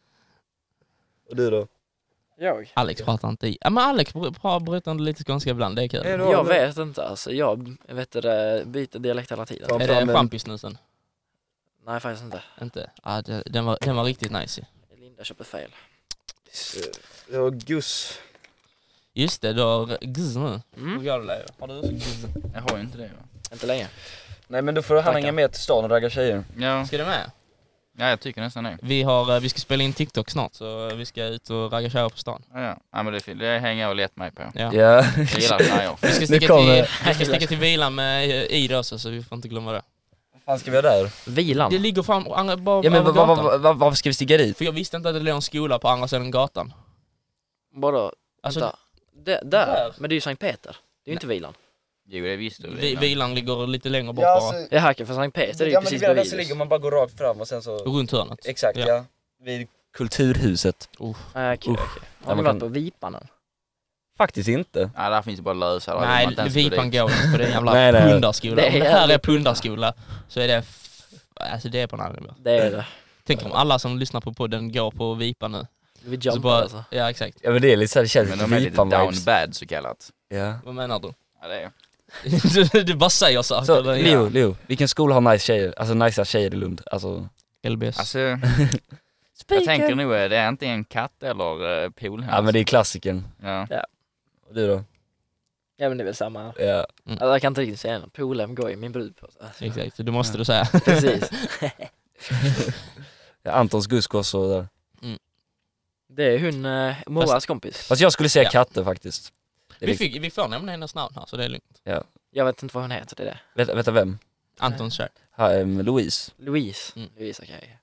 [SPEAKER 3] Och du då?
[SPEAKER 4] Jag?
[SPEAKER 2] Alex pratar inte i. Ja men Alex br- bra- bryter ändå lite skånska ibland, det är kul.
[SPEAKER 3] Är
[SPEAKER 2] Är
[SPEAKER 3] det-
[SPEAKER 4] Jag vet inte alltså, jag vet du det, byter dialekt hela tiden.
[SPEAKER 3] Ja.
[SPEAKER 2] det champisnusen?
[SPEAKER 4] Nej faktiskt inte.
[SPEAKER 2] Inte? Ja, det- den var, den var riktigt nice ju.
[SPEAKER 4] Linda köpte fel.
[SPEAKER 3] Det var Gus.
[SPEAKER 2] Just det, du har guzz nu.
[SPEAKER 4] Mm.
[SPEAKER 2] Hur går det Leo? Har du också guzz?
[SPEAKER 5] Jag har ju inte det va?
[SPEAKER 4] Inte länge.
[SPEAKER 3] Nej men då får han
[SPEAKER 2] Tackar.
[SPEAKER 3] hänga med till stan och ragga tjejer.
[SPEAKER 5] Ja,
[SPEAKER 2] Ska du med?
[SPEAKER 5] ja jag tycker nästan det.
[SPEAKER 2] Vi, har, eh, vi ska spela in TikTok snart så eh, vi ska ut och ragga tjejer på stan.
[SPEAKER 5] Ja, ja. ja men det, är fint. det hänger jag och lätt mig på.
[SPEAKER 2] Ja.
[SPEAKER 3] Ja.
[SPEAKER 5] Jag gillar tjejer.
[SPEAKER 2] Vi ska
[SPEAKER 3] Nu
[SPEAKER 2] sticka
[SPEAKER 3] kommer-
[SPEAKER 2] till, vi ska sticka till vilan med eh, Ida också så vi får inte glömma det.
[SPEAKER 3] Vad fan ska vi göra där?
[SPEAKER 4] Vilan.
[SPEAKER 2] Det ligger fram, andra- bara
[SPEAKER 3] Ja men
[SPEAKER 2] över
[SPEAKER 3] va- va-
[SPEAKER 2] gatan.
[SPEAKER 3] va- va- varför ska vi stiga dit?
[SPEAKER 2] För jag visste inte att det låg en skola på andra sidan gatan.
[SPEAKER 4] Vadå?
[SPEAKER 2] Alltså,
[SPEAKER 4] Vänta. Det, där.
[SPEAKER 2] där.
[SPEAKER 4] Men det är ju Sankt Peter. Det är ju inte Vilan.
[SPEAKER 5] Jo det visste du.
[SPEAKER 2] vi,
[SPEAKER 5] Lina.
[SPEAKER 2] vilan ligger lite längre bort bara.
[SPEAKER 4] Jag hackar för Sankt Peter, det är ju precis
[SPEAKER 3] där
[SPEAKER 4] bredvid.
[SPEAKER 3] så
[SPEAKER 4] oss.
[SPEAKER 3] ligger man bara går rakt fram och sen så...
[SPEAKER 2] Runt hörnet.
[SPEAKER 3] Exakt ja.
[SPEAKER 2] Ja.
[SPEAKER 3] Vid Kulturhuset.
[SPEAKER 4] Ah, Okej,
[SPEAKER 3] Usch.
[SPEAKER 4] okej. Har
[SPEAKER 3] man
[SPEAKER 4] ni
[SPEAKER 3] kan-
[SPEAKER 4] varit på Vipanen?
[SPEAKER 3] Faktiskt inte.
[SPEAKER 5] Nej där finns det bara lösa. där vill man inte
[SPEAKER 2] Nej,
[SPEAKER 5] ens gå
[SPEAKER 2] Vipan
[SPEAKER 5] dit.
[SPEAKER 2] går inte på den jävla
[SPEAKER 3] Nej, nej.
[SPEAKER 2] pundarskolan.
[SPEAKER 4] Det
[SPEAKER 2] Det,
[SPEAKER 4] är
[SPEAKER 2] Om det här är
[SPEAKER 4] jävligt
[SPEAKER 2] pundarskola så är det... f- Alltså det är på en annan nivå.
[SPEAKER 4] Det är det.
[SPEAKER 2] Tänk om alla som lyssnar på podden går på Vipa nu.
[SPEAKER 4] Vi
[SPEAKER 2] så
[SPEAKER 4] jumpar
[SPEAKER 2] bara,
[SPEAKER 4] alltså.
[SPEAKER 2] Ja exakt.
[SPEAKER 3] Ja men det är lite såhär, det känns
[SPEAKER 5] Men
[SPEAKER 3] lite
[SPEAKER 5] de är lite down
[SPEAKER 3] Vipan-vibes.
[SPEAKER 5] bad så kallat.
[SPEAKER 3] Ja.
[SPEAKER 2] Vad menar du?
[SPEAKER 5] Ja det är
[SPEAKER 2] du, du bara säger saker.
[SPEAKER 3] Så
[SPEAKER 2] Ja.
[SPEAKER 3] Leo, Leo, vilken skola har nice tjejer? Alltså nicea tjejer i Lund? Alltså...
[SPEAKER 2] LBS.
[SPEAKER 5] Alltså, jag tänker nog eh, det är antingen katt eller eh, polhäst.
[SPEAKER 3] Ja men det är klassikern.
[SPEAKER 5] ja.
[SPEAKER 3] Och du då?
[SPEAKER 4] Ja men det är väl samma. Alltså,
[SPEAKER 3] Ja.
[SPEAKER 4] jag kan inte riktigt säga något. Polhem går i min brud på. Alltså,
[SPEAKER 2] Exakt, det måste du säga.
[SPEAKER 4] Precis.
[SPEAKER 3] Ja, Antons Gus går så där.
[SPEAKER 4] Det är hon, eh, Moras kompis.
[SPEAKER 3] Fast jag skulle säga
[SPEAKER 2] Ja.
[SPEAKER 3] katter faktiskt. Det är
[SPEAKER 2] Vi,
[SPEAKER 3] liksom-
[SPEAKER 2] fick, vi får nämna hennes namn här så det är lugnt.
[SPEAKER 4] Jag vet inte vad hon heter, det är det.
[SPEAKER 3] Vänta, vänta vem?
[SPEAKER 2] Antons kär.
[SPEAKER 3] Ha, ehm, Louise.
[SPEAKER 4] Louise.
[SPEAKER 2] Mm.
[SPEAKER 4] Louise, okej.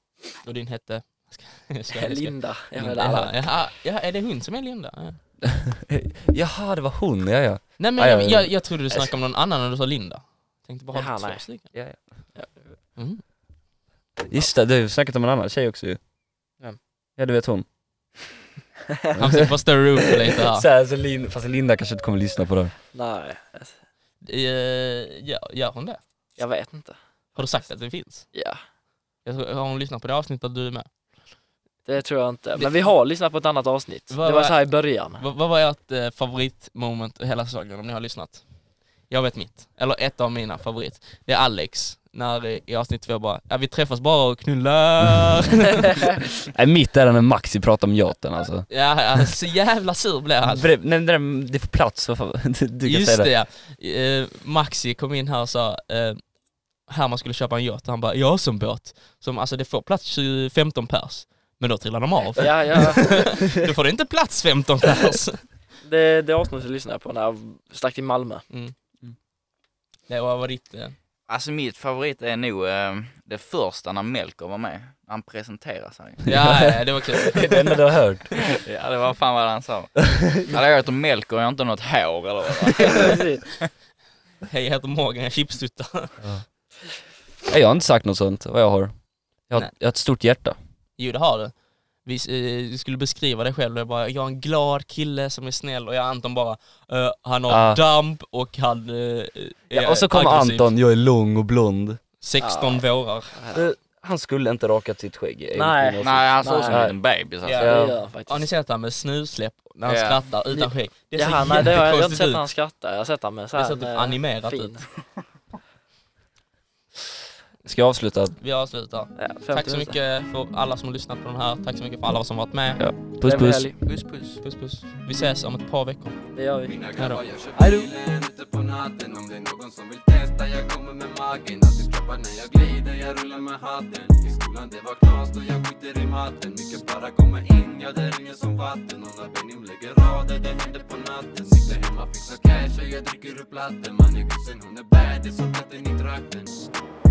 [SPEAKER 2] Och din hette? Jag ska- jag ska-
[SPEAKER 4] Linda. Jag vet inte.
[SPEAKER 2] Jaha, jaha, ja, är det hon som är Linda? Ja.
[SPEAKER 3] Jaha, det var hon, ja ja.
[SPEAKER 2] Nej
[SPEAKER 3] Ja,
[SPEAKER 2] men
[SPEAKER 3] ja,
[SPEAKER 2] jag,
[SPEAKER 3] ja.
[SPEAKER 2] jag, jag trodde du snackade om någon annan när du sa Linda. Tänkte bara,
[SPEAKER 4] Jaha,
[SPEAKER 2] har du två
[SPEAKER 4] nej.
[SPEAKER 2] stycken?
[SPEAKER 3] ja, ja.
[SPEAKER 2] Mm.
[SPEAKER 3] Just det, du har ju snackat om en annan tjej också ju.
[SPEAKER 4] Vem?
[SPEAKER 3] Ja du vet hon.
[SPEAKER 2] Han försöker bara stirra upp det lite här.
[SPEAKER 3] Så här, så Lin- fast Linda kanske inte kommer lyssna på det.
[SPEAKER 4] Nej, alltså,
[SPEAKER 2] Eh, ja, gör hon det?
[SPEAKER 4] jag vet inte.
[SPEAKER 2] Har du sagt att det finns?
[SPEAKER 4] Ja,
[SPEAKER 2] Jag tror- Har hon lyssnat på det avsnittet där du är med?
[SPEAKER 4] det tror jag inte. Men vi har lyssnat på ett annat avsnitt.
[SPEAKER 2] Vad-
[SPEAKER 4] det var
[SPEAKER 2] vad-
[SPEAKER 4] så här i början.
[SPEAKER 2] Vad, vad var ert eh, favoritmoment i hela säsongen om ni har lyssnat? Jag vet mitt, eller ett av mina favorit. Det är Alex, när eh, i avsnitt två bara ja, vi träffas bara och knullar.
[SPEAKER 3] Nej mitt är när Maxi pratar om yachten alltså.
[SPEAKER 2] ja, ja, så jävla sur blev han.
[SPEAKER 3] Bre- nej, nej, nej, det får plats, vad fan. Du, du kan
[SPEAKER 2] Just det,
[SPEAKER 3] säga det.
[SPEAKER 2] ja. Eh, Maxi kom in här och sa eh, här man skulle köpa en yacht, han bara jag har som båt. Som, alltså det får plats 20 15 pers, men då trillar de av.
[SPEAKER 4] Ja, ja.
[SPEAKER 2] då får det inte plats 15 pers.
[SPEAKER 4] Det, det avsnittet lyssnade jag på när jag stack till Malmö.
[SPEAKER 2] Det var vad ditt... eh,
[SPEAKER 5] Alltså mitt favorit är nog eh, det första när Melker var med. Han presenterar sig.
[SPEAKER 2] Ja, ja, det var kul.
[SPEAKER 3] Det är det enda du har hört.
[SPEAKER 5] Ja det var fan vad han sa. Hade jag heter Melker och jag har inte något hår eller vad.
[SPEAKER 4] Precis.
[SPEAKER 2] Hej, jag heter Morgan, jag är chipstuttar.
[SPEAKER 3] Nej, jag har inte sagt något sånt, vad jag har. Jag har,
[SPEAKER 2] Nej.
[SPEAKER 3] jag har ett stort hjärta.
[SPEAKER 2] Jo, det har du. Vi eh, du skulle beskriva dig själv, jag, bara, jag är en glad kille som är snäll och jag Anton bara, eh, han har
[SPEAKER 3] Ah.
[SPEAKER 2] damp och han eh, är
[SPEAKER 3] Ja, och så kommer
[SPEAKER 2] aggressiv.
[SPEAKER 3] Anton, jag är lång och blond.
[SPEAKER 2] 16 vårar.
[SPEAKER 3] Han skulle inte rakat sitt skägg.
[SPEAKER 4] Nej.
[SPEAKER 5] Nej han såg ut som en
[SPEAKER 3] Nej.
[SPEAKER 5] liten bebis alltså.
[SPEAKER 2] Ja.
[SPEAKER 4] Det gör jag
[SPEAKER 2] Har ni
[SPEAKER 4] faktiskt.
[SPEAKER 2] sett det här med snusläpp när han
[SPEAKER 5] Ja.
[SPEAKER 2] skrattar utan skägg. Det ser
[SPEAKER 4] Jaha, nej det har jag, jag har inte
[SPEAKER 2] jättekonstigt
[SPEAKER 4] sett
[SPEAKER 2] ut.
[SPEAKER 4] han skratta, jag har sett han med så
[SPEAKER 2] Det
[SPEAKER 4] här,
[SPEAKER 2] ser typ
[SPEAKER 4] eh,
[SPEAKER 2] animerat
[SPEAKER 4] fin.
[SPEAKER 2] ut.
[SPEAKER 3] Ska jag avsluta?
[SPEAKER 2] Vi avslutar.
[SPEAKER 4] Ja, 50
[SPEAKER 2] Tack så
[SPEAKER 4] minuter.
[SPEAKER 2] mycket för alla som har lyssnat på den här. Tack så mycket för alla som varit med.
[SPEAKER 3] Puss
[SPEAKER 4] Trevlig
[SPEAKER 3] puss.
[SPEAKER 4] helg.
[SPEAKER 5] Puss puss.
[SPEAKER 2] Puss puss. Vi ses om ett par veckor.
[SPEAKER 4] Det gör vi.
[SPEAKER 1] Mina
[SPEAKER 2] Hejdå.
[SPEAKER 1] grabbar jag kör
[SPEAKER 4] Hejdå.
[SPEAKER 1] bilen ute på natten Om det är någon som vill testa jag kommer med magen Alltid droppar när jag glider, jag rullar med hatten I skolan det var knas då jag skiter i matten Mycket bara kommer in, ja det ringer som vatten Och när Benim lägger rader det händer på natten Sitter hemma, fixar cash och jag dricker ur platten Man är gussen, hon är bad, det är som katten i trakten